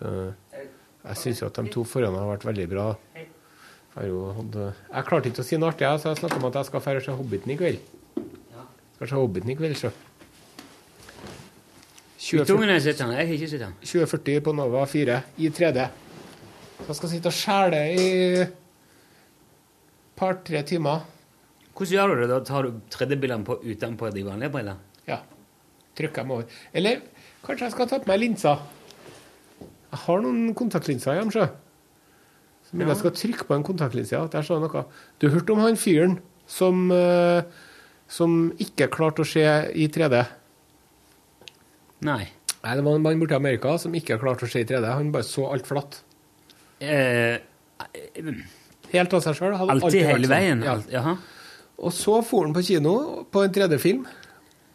Eh, jeg syns jo at de to forhåndene har vært veldig bra. Jeg Har jo hatt, eh, jeg klarte ikke å si noe artig, jeg, så jeg snakka om at jeg skal dra og se Hobbiten i kveld. Skal se Hobbiten i kveld, så. 2040
Guttungen har sett den, jeg har ikke sett den.
2040 på Nova 4 i 3D. Så jeg skal sitte og skjæle i par-tre timer.
Hvordan gjør du det? da? Tar du 3D-brillene på utenpå de vanlige brillene?
Ja. Trykker dem over. Eller kanskje jeg skal ta på meg linser. Jeg har noen kontaktlinser hjemme, sjø. Så men jeg skal trykke på en kontaktlinse. Ja. Der sa jeg noe. Du hørte om han fyren som, eh, som ikke klarte å se i 3D?
Nei.
Nei, det var en mann borti Amerika som ikke klarte å se i 3D. Han bare så alt flatt.
Eh,
Helt av seg sjøl.
alltid hele veien?
sånn. Ja.
Alt, jaha.
Og så for han på kino på en 3D-film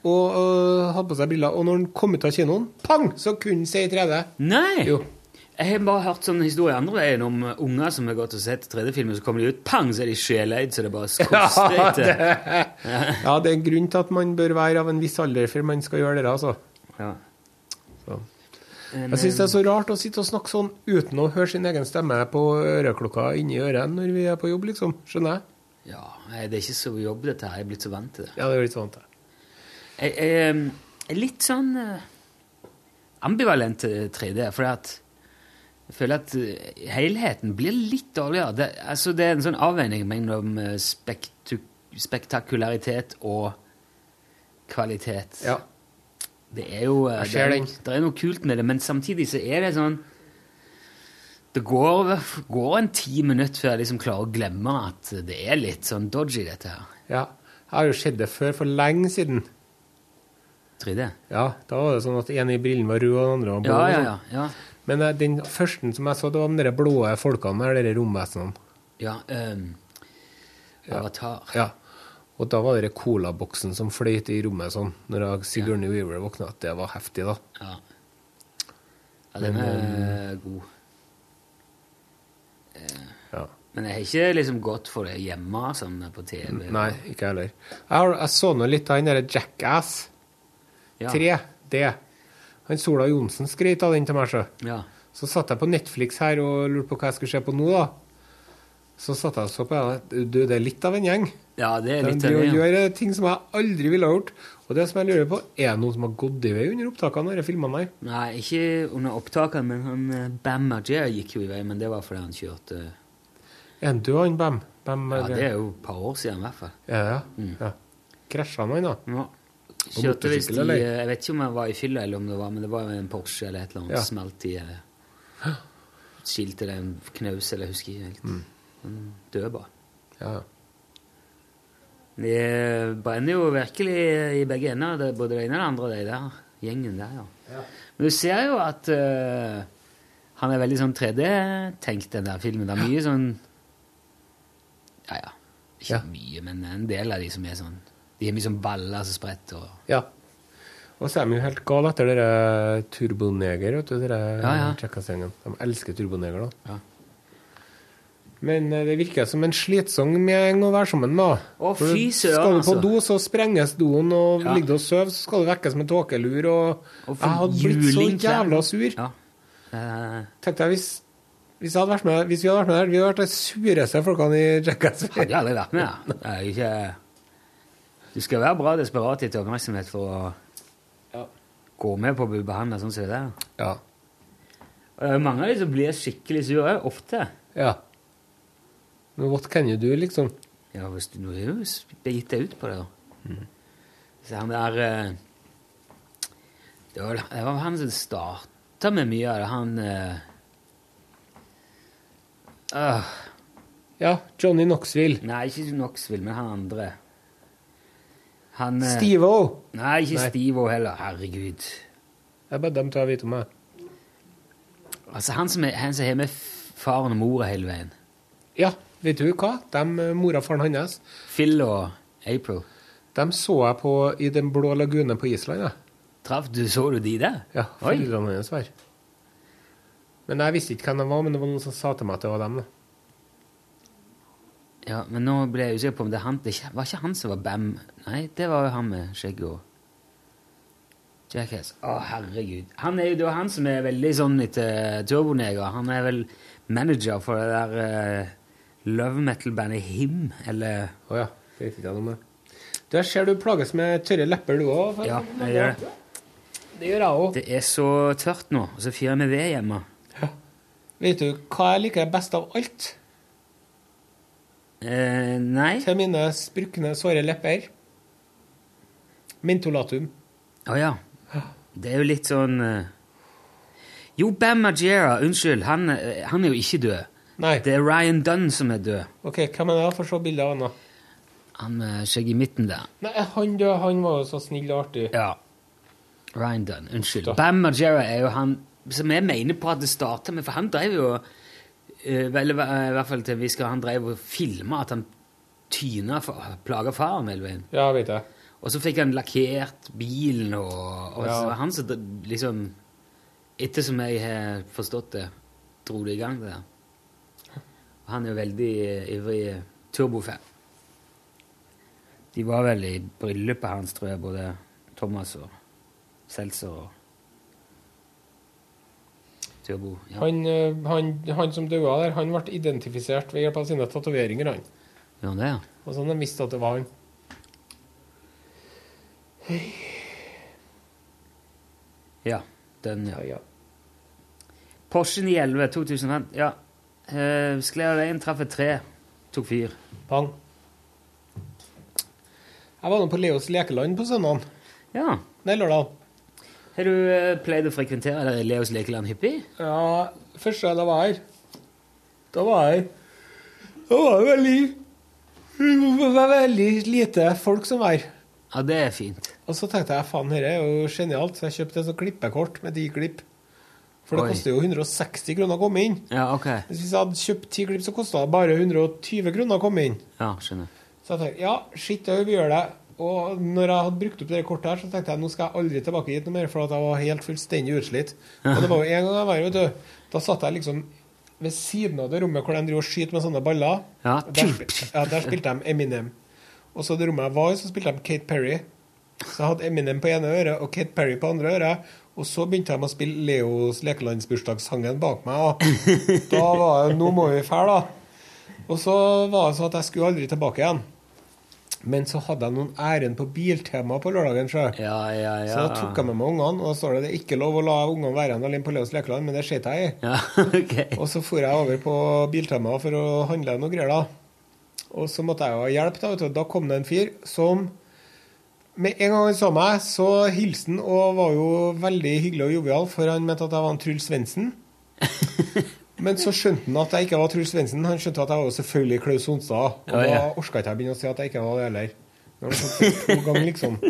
og øh, hadde på seg briller. Og når han kom ut av kinoen, pang, så kunne han se i 3D.
Nei!
Jo.
Jeg har bare hørt sånne historier andre veien om eh, unger som har gått og sett 3D-filmer, så kommer de ut, pang, så er de sjeleid, så det bare skorster
Ja, det,
etter.
ja, det er en grunn til at man bør være av en viss alder før man skal gjøre det. altså.
Ja.
Så.
En,
Jeg syns det er så rart å sitte og snakke sånn uten å høre sin egen stemme på øreklokka inni øret når vi er på jobb, liksom. Skjønner jeg?
ja, nei, det er ikke så jobb dette her, jeg er blitt så vant til det.
Ja, det er litt sånn det.
Jeg jeg er litt sånn eh, ambivalent til 3D, fordi at jeg føler at eh, helheten blir litt dårligere. Det, altså, det er en sånn avveining mellom eh, spektu spektakularitet og kvalitet.
Ja.
Det er jo eh,
Jeg
det
ser
er,
den.
det er noe kult med det, men samtidig så er det sånn Det går, går en ti minutter før jeg liksom klarer å glemme at det er litt sånn dodgy, dette her.
ja. Jeg har jo sett det før, for lenge siden.
3D.
Ja, Da var det sånn at en i brillen var rød, og den andre var blå.
Ja,
og
ja,
sånn.
ja. ja.
Men eh, den første som jeg så, det var de der blå folkene der, de romvesenene.
Ja, ehm, Avatar.
Ja. Og da var det den colaboksen som fløyt i rommet sånn, når jeg- Sigourney Weaver våkna, at det var heftig, da.
Ja. ja den er god.
Ja.
Men jeg har ikke liksom gått for det hjemme sånn på TV.
eh, Nei, ikke jeg heller. Jeg, har, jeg så nå litt av den derre Jackass
ja.
3, det. Han Sola Johnsen skrøt av den til meg, sjø.
Ja.
Så satt jeg på Netflix her og lurte på hva jeg skulle se på nå, da. Så satt jeg og så på den. Du, det er litt av en gjeng.
ja, det er
De
litt av
driver
det.
og
ja.
gjør eh, ting som jeg aldri ville ha gjort. Og det som jeg lurer på, er det noen som har gått i vei under opptakene av disse filmene her?
Nei, ikke under opptakene, men han eh, Bam Margera gikk jo i vei, men det var fordi han kjørte
Er han død, han Bam? Bam
Ja,
eller-
det er jo et par år siden, i hvert fall.
Ja, ja.
Mm.
ja. Krasja han, han, da?
Ja. Kjørte visst i
motorsykkel, eller?
eh, Jeg vet ikke om jeg var i fylla, eller om det var, men det var jo en Porsche eller et eller annet.
Ja.
Smelt i eh, Skilt eller en knaus, eller jeg husker ikke helt. Han døde bare.
Ja, ja.
Det brenner jo virkelig i begge ender, det, både det ene og det andre, de der gjengen der, ja. Men du ser jo at eh, han er veldig sånn 3D-tenkt, den der filmen. Det er mye sånn Ja, ja. Ikke
Ja.
mye, men en del av de som er sånn De er mye sånn baller som spretter og
ja. Og så er de jo helt gale etter dere Turboneger, vet du. Dere
Ja, ja.
Jackass-gjengen. De elsker Turboneger, da.
Ja.
Men eh, det virker som en slitsom gjeng å være sammen med. da.
Å,
For
fy søren,
Skal du på
altså.
do, så sprenges doen, og
Ja.
ligger du og sover, så skal du vekkes med tåkelur, og,
Og for
Jeg hadde blitt så
juling klær.
jævla sur.
Ja. Eh,
Tenkte jeg, hvis, hvis, jeg hadde vært med, hvis vi hadde vært med der, vi hadde vært de sureste folkene i Jackass.
hadde jeg aldri vært med, ja. Det er jo ikke Du skal være bra desperat etter oppmerksomhet for å gå med på å bli behandla sånn som det der.
Ja.
Og det er jo Eh, mange av de som blir skikkelig sure, ofte.
ja. Men what can you do, liksom?
Ja, hvis du nå har jo s- begitt deg ut på det, da.
Mm.
Så han der eh, det var, det var han som starta med mye av det, han eh, øh,
Ja, Johnny Knoxville.
Nei, ikke Knoxville, men han andre. Han eh,
Steve-O!
Nei, ikke
Nei.
Stivo heller. Herregud.
Det er bare dem to jeg vet om. Jeg.
Altså, han som, er, han som har med f- faren og mora hele veien.
Ja, vet du hva? Dem, eh, mora og faren hans
Phil og April.
dem så jeg på i Den blå lagune på Island. Jeg.
Traff du, så du de der?
Ja,
Oi.
foreldrene hans var Men jeg visste ikke hvem de var, men det var noen som sa til meg at det var dem. da.
Ja, men nå ble jeg usikker på om det er han. Det er ikke- var ikke han som var Bam. Nei, det var jo han med skjegg og Jackass. Å, herregud. Han er jo det er han som er veldig sånn etter Turboneger. Han er vel manager for det der eh, love metal-bandet Him, eller
Å ja, det visste ikke jeg noe om det. Du, jeg ser du plages med tørre lepper, du òg.
Ja, jeg gjør det.
Det gjør jeg òg.
Det er så tørt nå, og så fyrer vi ved hjemme.
Vet du hva jeg liker best av alt?
Eh, nei.
Til mine sprukne, såre lepper. Mentolatum.
Å ja. Det er jo litt sånn eh, Jo, Bam Margera, unnskyld, han, eh, han er jo ikke død.
Nei.
Det er Ryan Dunn som er død.
OK, hvem er det? Jeg får se bildet av han, da.
Han med skjegg i midten der.
Nei, han døde, han var jo så snill og artig.
Ja. Ryan Dunn, unnskyld.
Da.
Bam Margera er jo han som jeg mener på at det starta med, for han drev jo eh, vel, eh, I hvert fall til en viss grad, han drev og filma at han tyna for- plaga faren hele veien.
Ja, vet jeg.
Og så fikk han lakkert bilen, og, og
Ja.
så var han som dr- liksom Etter som jeg har forstått det, dro det i gang det der. Og Han er jo veldig eh, ivrig eh, turbofan. De var vel i bryllupet hans, tror jeg, både Thomas og Seltzer og Turbo. Ja,
Han, eh, han, han som døde der, han ble identifisert ved hjelp av sine tatoveringer, han.
gjør han det? ja?
Og sånn de visste at det var han.
Ja. Den, ja.
Ja, ja.
Porschen i 11, 2005. Ja. Uh, Skled av veien, traff et tre, tok fyr.
Pang. Jeg var nå på Leos lekeland på søndagen.
Ja.
Nei, lørdag.
Har du eh, pleid å frekventere deg i Leos lekeland hyppig?
Ja, første gang jeg var her, da var jeg Da var det veldig Det var veldig lite folk som var her.
Ja, det er fint.
Og så tenkte jeg faen, dette er jo genialt, så jeg kjøpte et sånt klippekort med ti klipp. For det
Oi.
koster jo 160 kroner å komme inn.
Ja, ok.
Hvis jeg hadde kjøpt ti klipp, så kosta det bare 120 kroner å komme inn.
Ja, skjønner.
Så jeg tenkte ja, shit, jeg vil gjøre det. Og når jeg hadde brukt opp det kortet her, så tenkte jeg nå skal jeg aldri tilbake hit noe mer, for at jeg var helt fullstendig utslitt. Og det var jo en gang jeg var her, vet du. Da satt jeg liksom ved siden av det rommet hvor de driver og skyter med sånne baller.
Ja.
Og Der, spil- ja, der spilte de Eminem. Og så det rommet jeg var i, så spilte de Kate Perry. Så jeg hadde Eminem på ene øret og Kate Perry på andre øret. Og så begynte de å spille Leos lekelandsbursdagssangen bak meg. Og da var jeg Nå må vi fære, da. Og så var det sånn at jeg skulle aldri tilbake igjen. Men så hadde jeg noen ærend på Biltema på lørdagen. Så.
Ja, ja, ja.
så da tok jeg med meg ungene, og da står det det er ikke lov å la ungene være igjen alene på Leos lekeland, men det skjøt jeg i.
Ja, ok.
Og så for jeg over på Biltema for å handle noe greier, da. Og så måtte jeg jo ha hjelp, da. Vet du. Da kom det en fyr som Med en gang han så meg, så hilste han og var jo veldig hyggelig og jovial, for han mente at jeg var en Truls Svendsen. Men så skjønte han at jeg ikke var Truls Svendsen. Han skjønte at jeg var jo selvfølgelig Klaus Sonstad. Og
Ja, ja.
da orka ikke jeg begynne å si at jeg ikke var det heller. Nå har han fått sagt to ganger, liksom.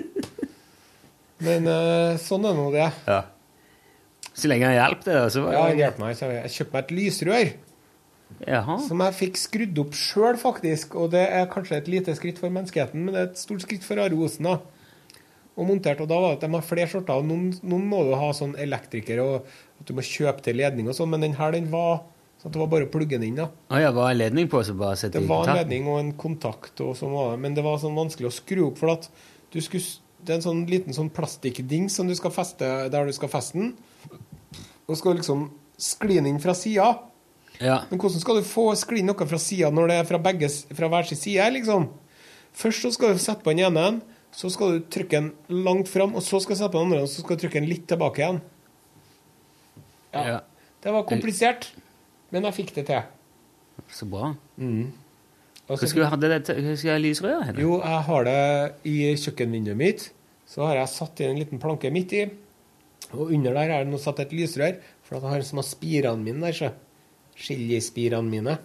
Men eh, sånn er nå det.
Ja. Så lenge han hjalp deg, da, så var
Ja, han
det
hjalp meg. så Jeg jeg kjøpte meg et lysrør.
Jaha.
Som jeg fikk skrudd opp sjøl, faktisk. Og det er kanskje et lite skritt for menneskeheten, men det er et stort skritt for Are Osen, da. Og montert, og da var det at de har flere skjorter. og Noen, noen må jo ha sånn elektriker, og at du må kjøpe til ledning og sånn, men den her, den var sånn at det var bare å plugge den inn, da.
Å ja, var det en ledning på, så bare sette
Det
i
var en
kontakten?
ledning og en kontakt, og sånn var det. Men det var sånn vanskelig å skru opp, for at du skulle s- Det er en sånn liten sånn plastikkdings som du skal feste der du skal feste den, og skal liksom skli den inn fra sida.
Ja.
Men hvordan skal du få skli noe fra sida når det er fra, begge, s- fra hver sin side? liksom? Først så skal du sette på den ene, så skal du trykke den langt fram, og så skal du sette på den andre, og så skal du trykke den litt tilbake igjen.
ja.
Det var komplisert, men jeg fikk det til.
Så bra.
Og så
Hvor skulle jeg hadde det til? Hvor skulle jeg ha lysrøret henne?
Jo, jeg har det i kjøkkenvinduet mitt. Så har jeg satt inn en liten planke midt i. Og under der er det nå satt et lysrør, for at jeg har en som har spirene mine der, så. Chilispirene mine.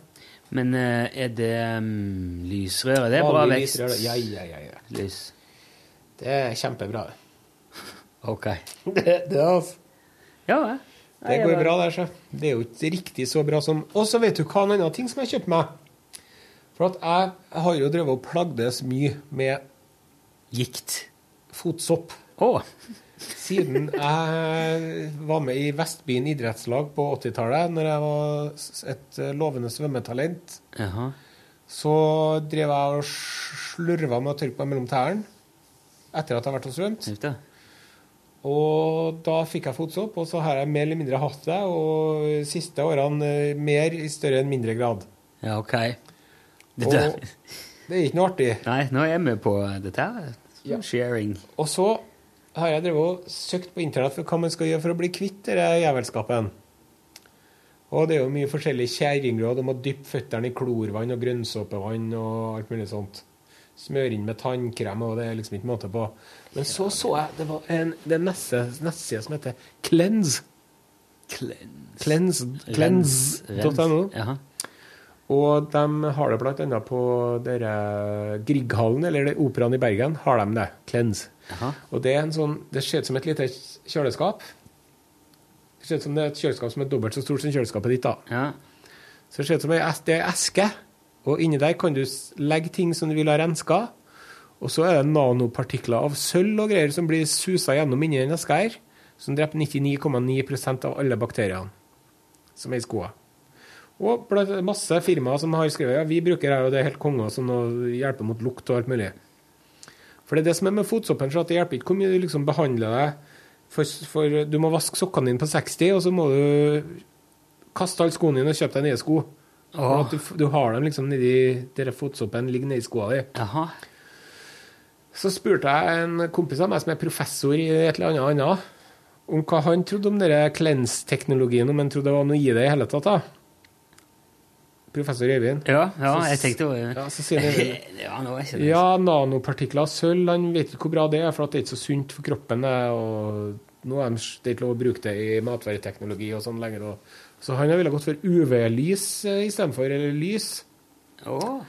Men eh, er det mm, lysrøret? Det er bra
Vanlig
vekst.
lysrør, da. Ja, ja, ja, ja.
Lys.
Det er kjempebra.
Ok.
Det, det, er altså.
Ja, ja. Nei,
det går bra der, så. Det er jo ikke riktig så bra som Og så vet du hva en annen ting som jeg kjøpte meg. For at jeg har jo drevet og plagdes mye med
Gikt.
fotsopp
Å.
siden jeg var med i Vestbyen idrettslag på 80-tallet, når jeg var s- et eh, lovende svømmetalent.
Jaha.
Så drev jeg og slurva med å tørke meg mellom tærne etter at jeg har vært og svømt.
Vet du.
Og da fikk jeg fotsopp, og så har jeg mer eller mindre hatt det. Og de siste årene eh, mer i større enn mindre grad.
Ja, ok. Det
Og
der.
det er ikke noe artig.
Nei, nå er vi på dette her. Sharing.
Og så har jeg drevet og søkt på internett for hva man skal gjøre for å bli kvitt denne jævelskapen. Og det er jo mye forskjellige kjerringråd om å dyppe føttene i klorvann og grønnsåpevann og alt mulig sånt. Smøre inn med tannkrem, og det er liksom ikke måte på. Men så så jeg Det var en, det er en neste- nettside som heter Cleanse. Cleanse.
Rens-
Cleanse.no.
rens- Jaha.
Og de har det blant annet på dere Grieghallen, eller det operaen i Bergen, har de det. Cleanse.
Jaha.
Og det er en sånn, det ser ut som et lite kjøleskap. Det ser ut som det er et kjøleskap som er dobbelt så stort som kjøleskapet ditt. da.
Ja.
Så det ser ut som ei es- det er ei eske, og inni der kan du s- legge ting som du vil ha renska. Og så er det nanopartikler av sølv og greier som blir susa gjennom inni den eska her, som dreper 99,9 av alle bakteriene som er i skoa. Og blant- masse firmaer som har skrevet ja, vi bruker det, her, og det er helt konge som å hjelpe mot lukt og alt mulig. For det er det som er med fotsoppen, så at det hjelper ikke hvor mye du liksom behandler deg. For, for du må vaske sokkene dine på 60, og så må du kaste alle skoene dine og kjøpe deg nye sko. For
Åh.
at du, f- du har dem liksom nedi der fotsoppen ligger nedi skoa di.
Jaha.
Så spurte jeg en kompis av meg som er professor i et eller annet annet, om hva han trodde om denne cleanse-teknologien, om han trodde det var noe i det i hele tatt. da. Professor Øyvind.
Ja, ja,
Så s-
jeg tenkte jo
Ja, så sier han
Ja, nå er ikke det
Ja, nanopartikler av sølv, han vet ikke hvor bra det er, for at det er ikke så sunt for kroppen. det, og nå er de- det er ikke lov å bruke det i matvareteknologi og sånn lenger. da. Så han ville gått for UV-lys eh, istedenfor, eller lys.
Åh.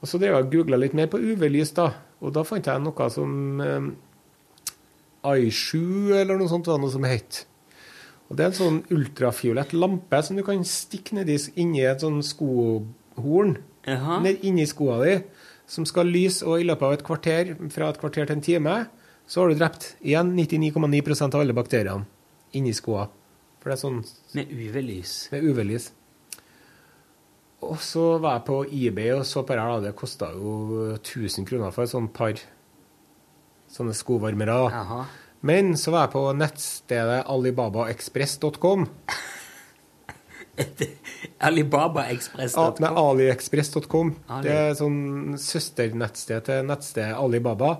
Og så drev jeg og googla litt mer på UV-lys, da. Og da fant jeg noe som eh, iShoe, eller noe sånt, var noe som het. Og det er en sånn ultrafiolett lampe som du kan stikke nedi s- inni et sånn skohorn.
Jaha.
Ned inni skoa di, som skal lyse, og i løpet av et kvarter, fra et kvarter til en time, så har du drept igjen 99,9 av alle bakteriene inni skoa. For det er sånn
Med UV-lys.
med UV-lys. Og så var jeg på eBay og så på det her. da. Det kosta jo 1000 kroner for et sånt par sånne skovarmere. da.
Jaha.
Men så var jeg på nettstedet alibabaexpress.com.
Alibaba Express.
Ah, Nei, aliexpress.com.
Ali.
Det er et sånn søsternettsted til nettstedet Alibaba,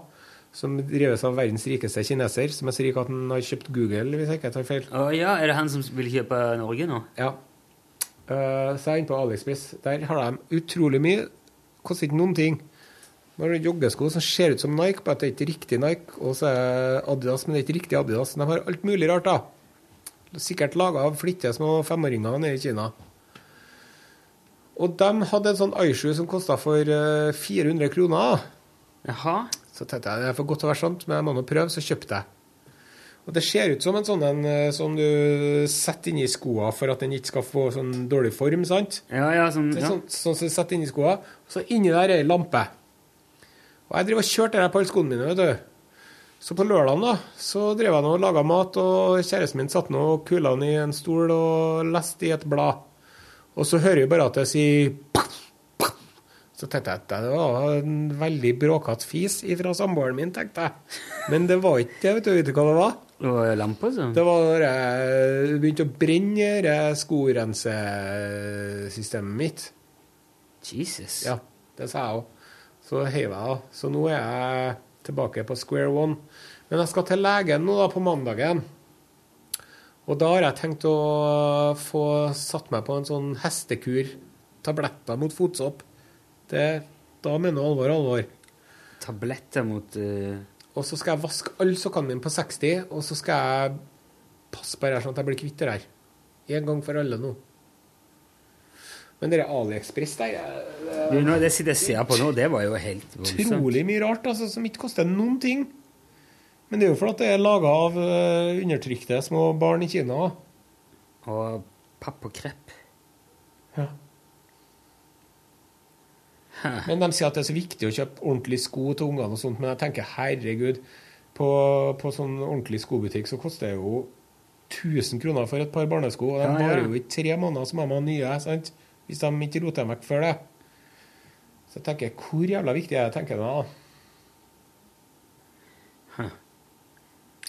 som drives av verdens rikeste kineser, som er så rik at han har kjøpt Google, hvis jeg ikke tar feil.
Å ja, er det han som vil kjøpe Norge nå?
Ja. Eh, så jeg er inne på AliExpress. Der har de utrolig mye. Koster ikke noen ting. Nå har de joggesko som ser ut som Nike, bare at det er ikke riktig Nike. Og så er det Adidas, men det er ikke riktig Adidas. De har alt mulig rart, da. Sikkert laga av flittige små femåringer nede i Kina. Og de hadde en sånn iShoe som kosta for eh, 400 kroner.
Jaha.
Så tenkte jeg det er for godt til å være sant, men jeg må nå prøve, så kjøpte jeg. Og det ser ut som en sånn en eh, som du setter inni skoa for at den ikke skal få sånn dårlig form, sant?
Ja, ja, sånn,
Det er
ja.
sånn, sånn som du setter inni skoa. Og så inni der er ei lampe. Og jeg driver og kjørte det her på alle skoene mine, vet du. Så på lørdagen da, så drev jeg nå og laga mat, og kjæresten min satt nå og kula den i en stol og leste i et blad. Og så hører vi bare at det sier «paff, paff». Så tenkte jeg at det var en veldig bråkete fis fra samboeren min, tenkte jeg. Men det var ikke det, vet du. Vet du hva det var?
Og lampe, så.
Det var når jeg begynte å brenne det skorensesystemet mitt.
Jesus.
Ja, det sa jeg òg. Så heiv jeg av. Så nå er jeg tilbake på square one. Men jeg skal til legen nå da på mandagen. Og da har jeg tenkt å få satt meg på en sånn hestekur. Tabletter mot fotsopp. Det, da mener jeg alvor alvor.
Tabletter mot eh,
Og så skal jeg vaske alle sokkene mine på 60, og så skal jeg passe på det her sånn at jeg blir kvitt det her. En gang for alle nå. Men det der AliExpress der er
du, nå, Det sitter jeg ser på nå, det var jo helt voldsomt.
utrolig mye rart altså, som ikke koster noen ting. Men det er jo fordi at det er laga av eh, undertrykte små barn i Kina.
Og papp og krepp.
Ja. Men de sier at det er så viktig å kjøpe ordentlige sko til ungene og sånt, men jeg tenker herregud, på, på sånn ordentlig skobutikk så koster det jo 1000 kroner for et par barnesko, og de
Ja, ja.
varer jo i tre måneder, så må de ha nye, sant? Hvis de ikke roter dem vekk før det. Så jeg tenker, hvor jævla viktig er det, tenker jeg da.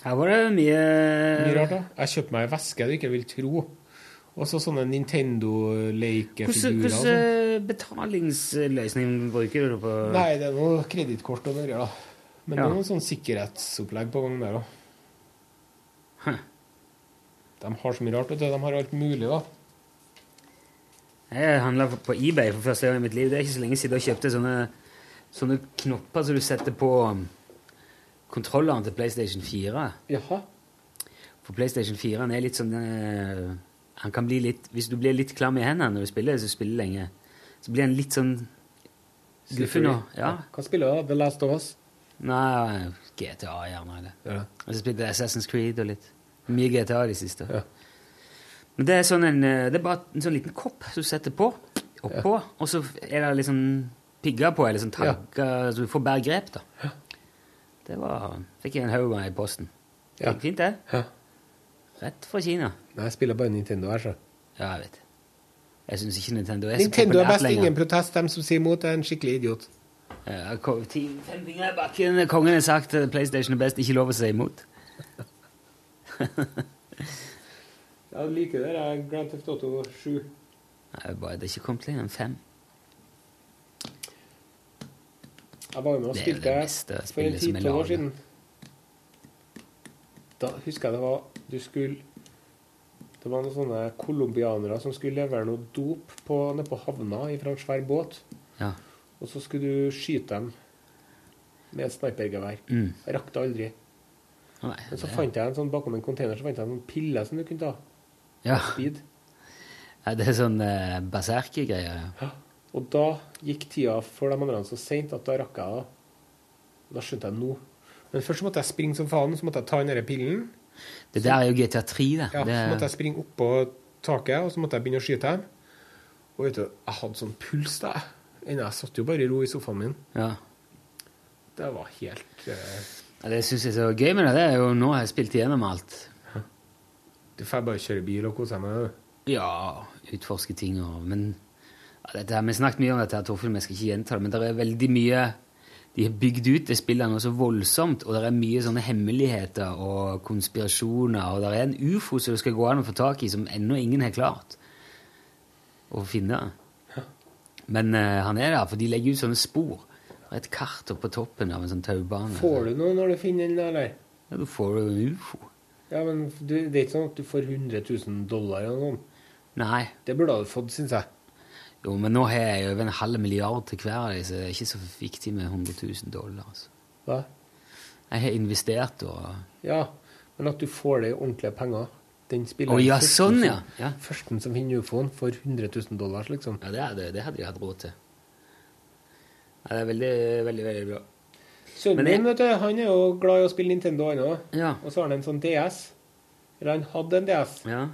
Her var det mye
Mye rart da. Jeg kjøpte meg en veske du ikke vil tro, og så sånne
Hvordan,
Nintendo-lekefigurer og
hvordan
sånn.
eh, betalingsløsning bruker du på
Nei, det er noe kreditkort og noe greier da. Men
Ja.
det er noe sånn sikkerhetsopplegg på gang der da.
Hæ.
De har så mye rart, vet du. De har alt mulig, da.
Jeg handla på eBay for første gang i mitt liv. Det er ikke så lenge siden jeg kjøpte sånne, sånne knopper som du setter på um, kontrolleren til PlayStation 4.
Jaha.
For PlayStation 4 -en er litt sånn eh, Han kan bli litt Hvis du blir litt klam i hendene når du spiller, hvis du spiller lenge, så blir han litt sånn guffen og Ja.
Hva spiller du? The Last of Us?
Nei, GTA gjerne. Eller.
Ja.
Og så spilte jeg Assassin's Creed og litt. Mye GTA i det siste.
Ja.
Men det er, sånn en, eh, det er bare en sånn liten kopp som du setter på, oppå, og så er det liksom pigger på, eller sånn tagger, så du får bedre grep, da. Det var Fikk jeg en haug med i posten.
Ja.
Gikk fint, det.
Ja.
Rett fra Kina.
Nei, jeg spiller bare Nintendo her, så.
Ja, jeg vet. Jeg syns ikke Nintendo er så
Nintendo er
populært
best,
lenger.
ingen protest. Dem som sier imot, er en skikkelig idiot.
Ja, ko- ti- Fem fingre i bakken. Kongen har sagt eh, PlayStation er best, ikke lov å si imot.
Jeg liker det der Grand Theft Auto 7.
Nei, bare, det er ikke kommet lenger enn fem.
Jeg var jo med og
Det er jo
spilte
det meste
for en
spillet som er
ti-tolv år
laget.
siden. Da husker jeg det var Du skulle Det var noen sånne colombianere som skulle levere noe dop på, nede på havna fra en svær båt.
Ja.
Og så skulle du skyte dem med et snipergevær.
Mm.
Jeg rakk det aldri.
Nei,
Men så
det-
fant jeg en sånn bakom en container så fant jeg en sånn pille som du kunne ta.
ja.
Speed.
Ja, det er sånn eh, berserkegreier. ja.
Og da gikk tida for de andre så seint at da rakk jeg det. Da skjønte jeg nå. Men først så måtte jeg springe som faen, så måtte jeg ta den der pillen.
Det der er jo GTA3, det.
Ja, Så måtte
det
jeg springe oppå taket, og så måtte jeg begynne å skyte dem. Og vet du, jeg hadde sånn puls da. Ennå, jeg satt jo bare i ro i sofaen min.
ja.
Det var helt eh,
Ja, det syns jeg er så gøy med det. det er jo Nå har jeg spilt igjennom alt.
Du får bare kjøre bil og kose meg. du.
Ja, utforske ting og Men ja, dette her, vi har snakket mye om dette, her, Torfinn, men jeg skal ikke gjenta det. Men det er veldig mye De har bygd ut det spillet nå så voldsomt, og det er mye sånne hemmeligheter og konspirasjoner, og det er en ufo som det skal gå an å få tak i, som ennå ingen har klart å finne. Men eh, han er der, for de legger ut sånne spor. Det er et kart oppe på toppen av en sånn taubane.
Får du noe når du finner den, eller?
Ja, da får du en ufo.
Ja, men du, det er ikke sånn at du får 100 000 dollar eller noe sånt.
Nei.
Det burde du fått, syns jeg.
Jo, men nå har jeg over en halv milliard til hver av dem, så det er ikke så viktig med 100 000 dollar. Altså.
Hva?
Jeg har investert og
Ja, men at du får det i ordentlige penger. Den
Å
spiller
ja,
førsten
sånn,
som-
ja. ja!
Førsten som finner ufoen, får 100 000 dollar, liksom.
Ja, det, er det, det hadde jeg hatt råd til. Ja, det er veldig, veldig veldig bra.
Sønnen
Men det-
min vet du, han er jo glad i å spille Nintendo, han òg.
Ja.
Og så har han en sånn DS. Eller han hadde en DS.
ja.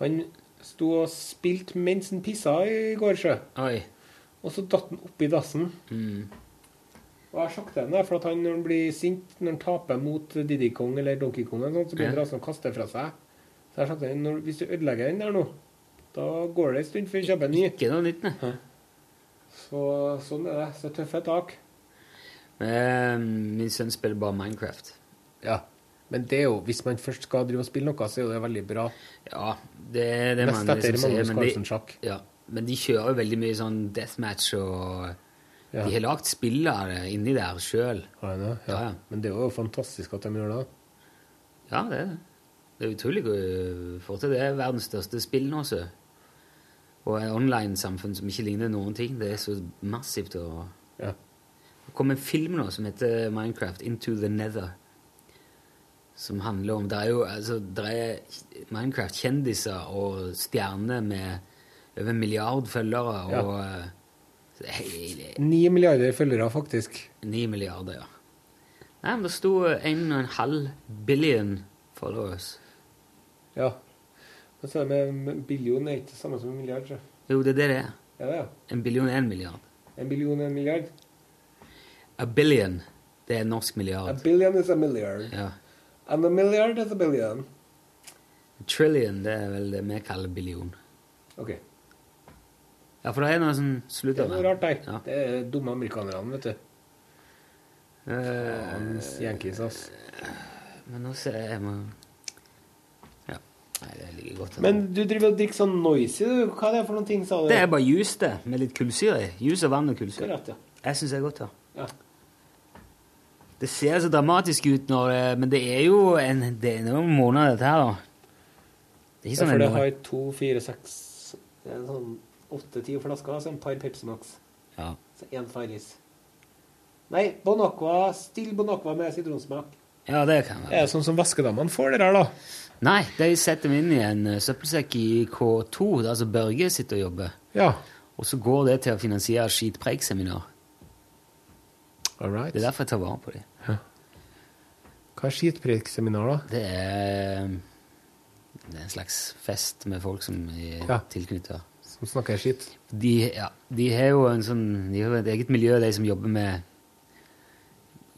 Han sto og spilte mens han pissa i går, sjø.
Oi.
Og så datt han oppi dassen.
Mm.
Og jeg sjakte han der, for at han når han blir sint, når han taper mot Diddy Kong eller Donkey Kong, eller noe sånt, så begynner
Ja.
han altså å kaste fra seg. Så jeg sjakte han, når, hvis du ødelegger den der nå, da går det en stund før vi kjøper en ny.
Ikke noe nytt, nei.
Så sånn er det. Så tøffe tak.
Eh, Min sønn spiller bare Minecraft.
Ja. Men det er jo, hvis man først skal drive og spille noe, så er jo det veldig bra.
Ja, det er det
Mest
man
etter
liksom sier,
Magnus
men de,
Carlsen-sjakk.
ja, men de kjører jo veldig mye sånn deathmatch og
Ja.
De har lagd spill av det inni der sjøl.
Har jeg det? Ja.
Ja, ja.
Men det er jo fantastisk at de gjør det.
Ja, det er det. Det er utrolig å få til. Det er verdens største spill nå, så. Og et online-samfunn som ikke ligner noen ting. Det er så massivt. Og...
Ja.
Det kom en film nå som heter Minecraft Into the Nether. Som handler om Det er jo altså, det er Minecraft-kjendiser og stjerner med over en milliard følgere
Ja.
og eh, så hele,
Ni milliarder følgere, faktisk.
Ni milliarder, ja. Nei, men det sto 1,5 billion followers.
Ja. Men så er det med billion er ikke det samme som en milliard, tror jeg.
Jo, det er det det er.
Er det, ja?
En billion er en milliard.
En billion er en milliard.
A billion, det er en norsk
A
milliard.
billion is a milliard.
Ja.
And a milliard is a billion.
Trillion, det er vel det vi kaller billion.
Ok.
Ja, for det er noe sånn slutt
Det er
av
noe rart der.
Ja.
Det er dumme amerikanerne, vet du.
Eh,
Hans Yankees, ass.
men nå ser jeg jeg må... Ja. Nei, det ligger godt. an.
Men eh, du driver og drikker sånn noisy, du. Hva er det for noen ting, sa du?
det er bare juice, det, med litt kullsyre i. Juice og vann og
Det er
kullsyre.
rett, ja.
Jeg syns det er godt, ja.
Ja.
Det ser så dramatisk ut når det- Men det er jo en, det er noen måneder, dette her, da. Det er ikke
Ja,
sånn
for det
en-
har to, fire, seks Det er en sånn
åtte-ti flasker, altså en par Pepsi Max.
Ja.
Så én Farris. Nei, Bon Aqua, still Bon Aqua med sitronsmak.
ja, det kan
Er
være.
det sånn som vaskedammene får det der, da?
Nei, de setter meg inn i en eh, søppelsekk i K2, der som Børge sitter og jobber.
Ja.
Og så går det til å finansiere skitpreikseminar.
All right.
Det er derfor jeg tar vare på dem.
Hva er skitpreikseminar, da?
Det er, det er en slags fest med folk som er
Ja.
tilknyttet.
Som snakker skit?
De, ja, de har jo en sånn, de har jo et eget miljø, de som jobber med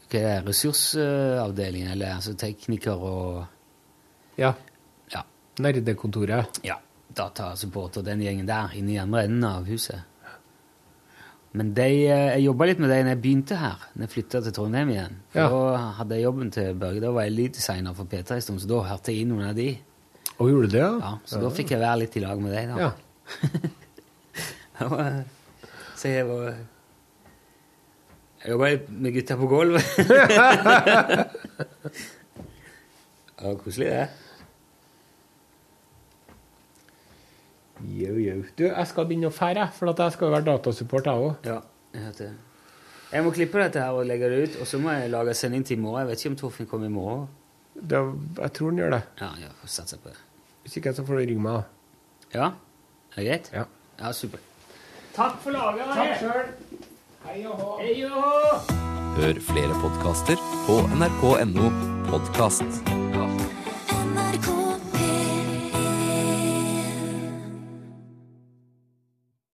hva er det, ressursavdelingen, eller altså tekniker og
Ja.
ja,
Nerdekontoret.
ja, datasupport og den gjengen der inne i andre enden av huset. Men de, eh, jeg jobba litt med dem da jeg begynte her, da jeg flytta til Trondheim igjen. For
Ja.
Da hadde jeg jobben til Børge, da var jeg lyddesigner for P3 en stund, så da hørte jeg inn noen av de.
Og gjorde det,
Ja, så da fikk jeg være litt i lag med deg, da.
Ja.
Det var- Så jeg var Jeg jobba med gutta på gulvet. det var koselig, det.
Yo, yo. Du, jeg skal begynne å fære, jeg, for at jeg skal jo være datasupport, jeg òg.
Ja, jeg hørte det. Jeg må klippe dette her og legge det ut, og så må jeg lage sending til i morgen. Jeg vet ikke om Torfinn kommer i morgen.
Jeg tror han gjør det.
Ja, jeg får satse på det.
Hvis ikke, så får du ringe meg. da.
Ja? Er det greit?
Ja.
ja super. Takk for laget. Takk
Hør flere podkaster på nrk.no podkast.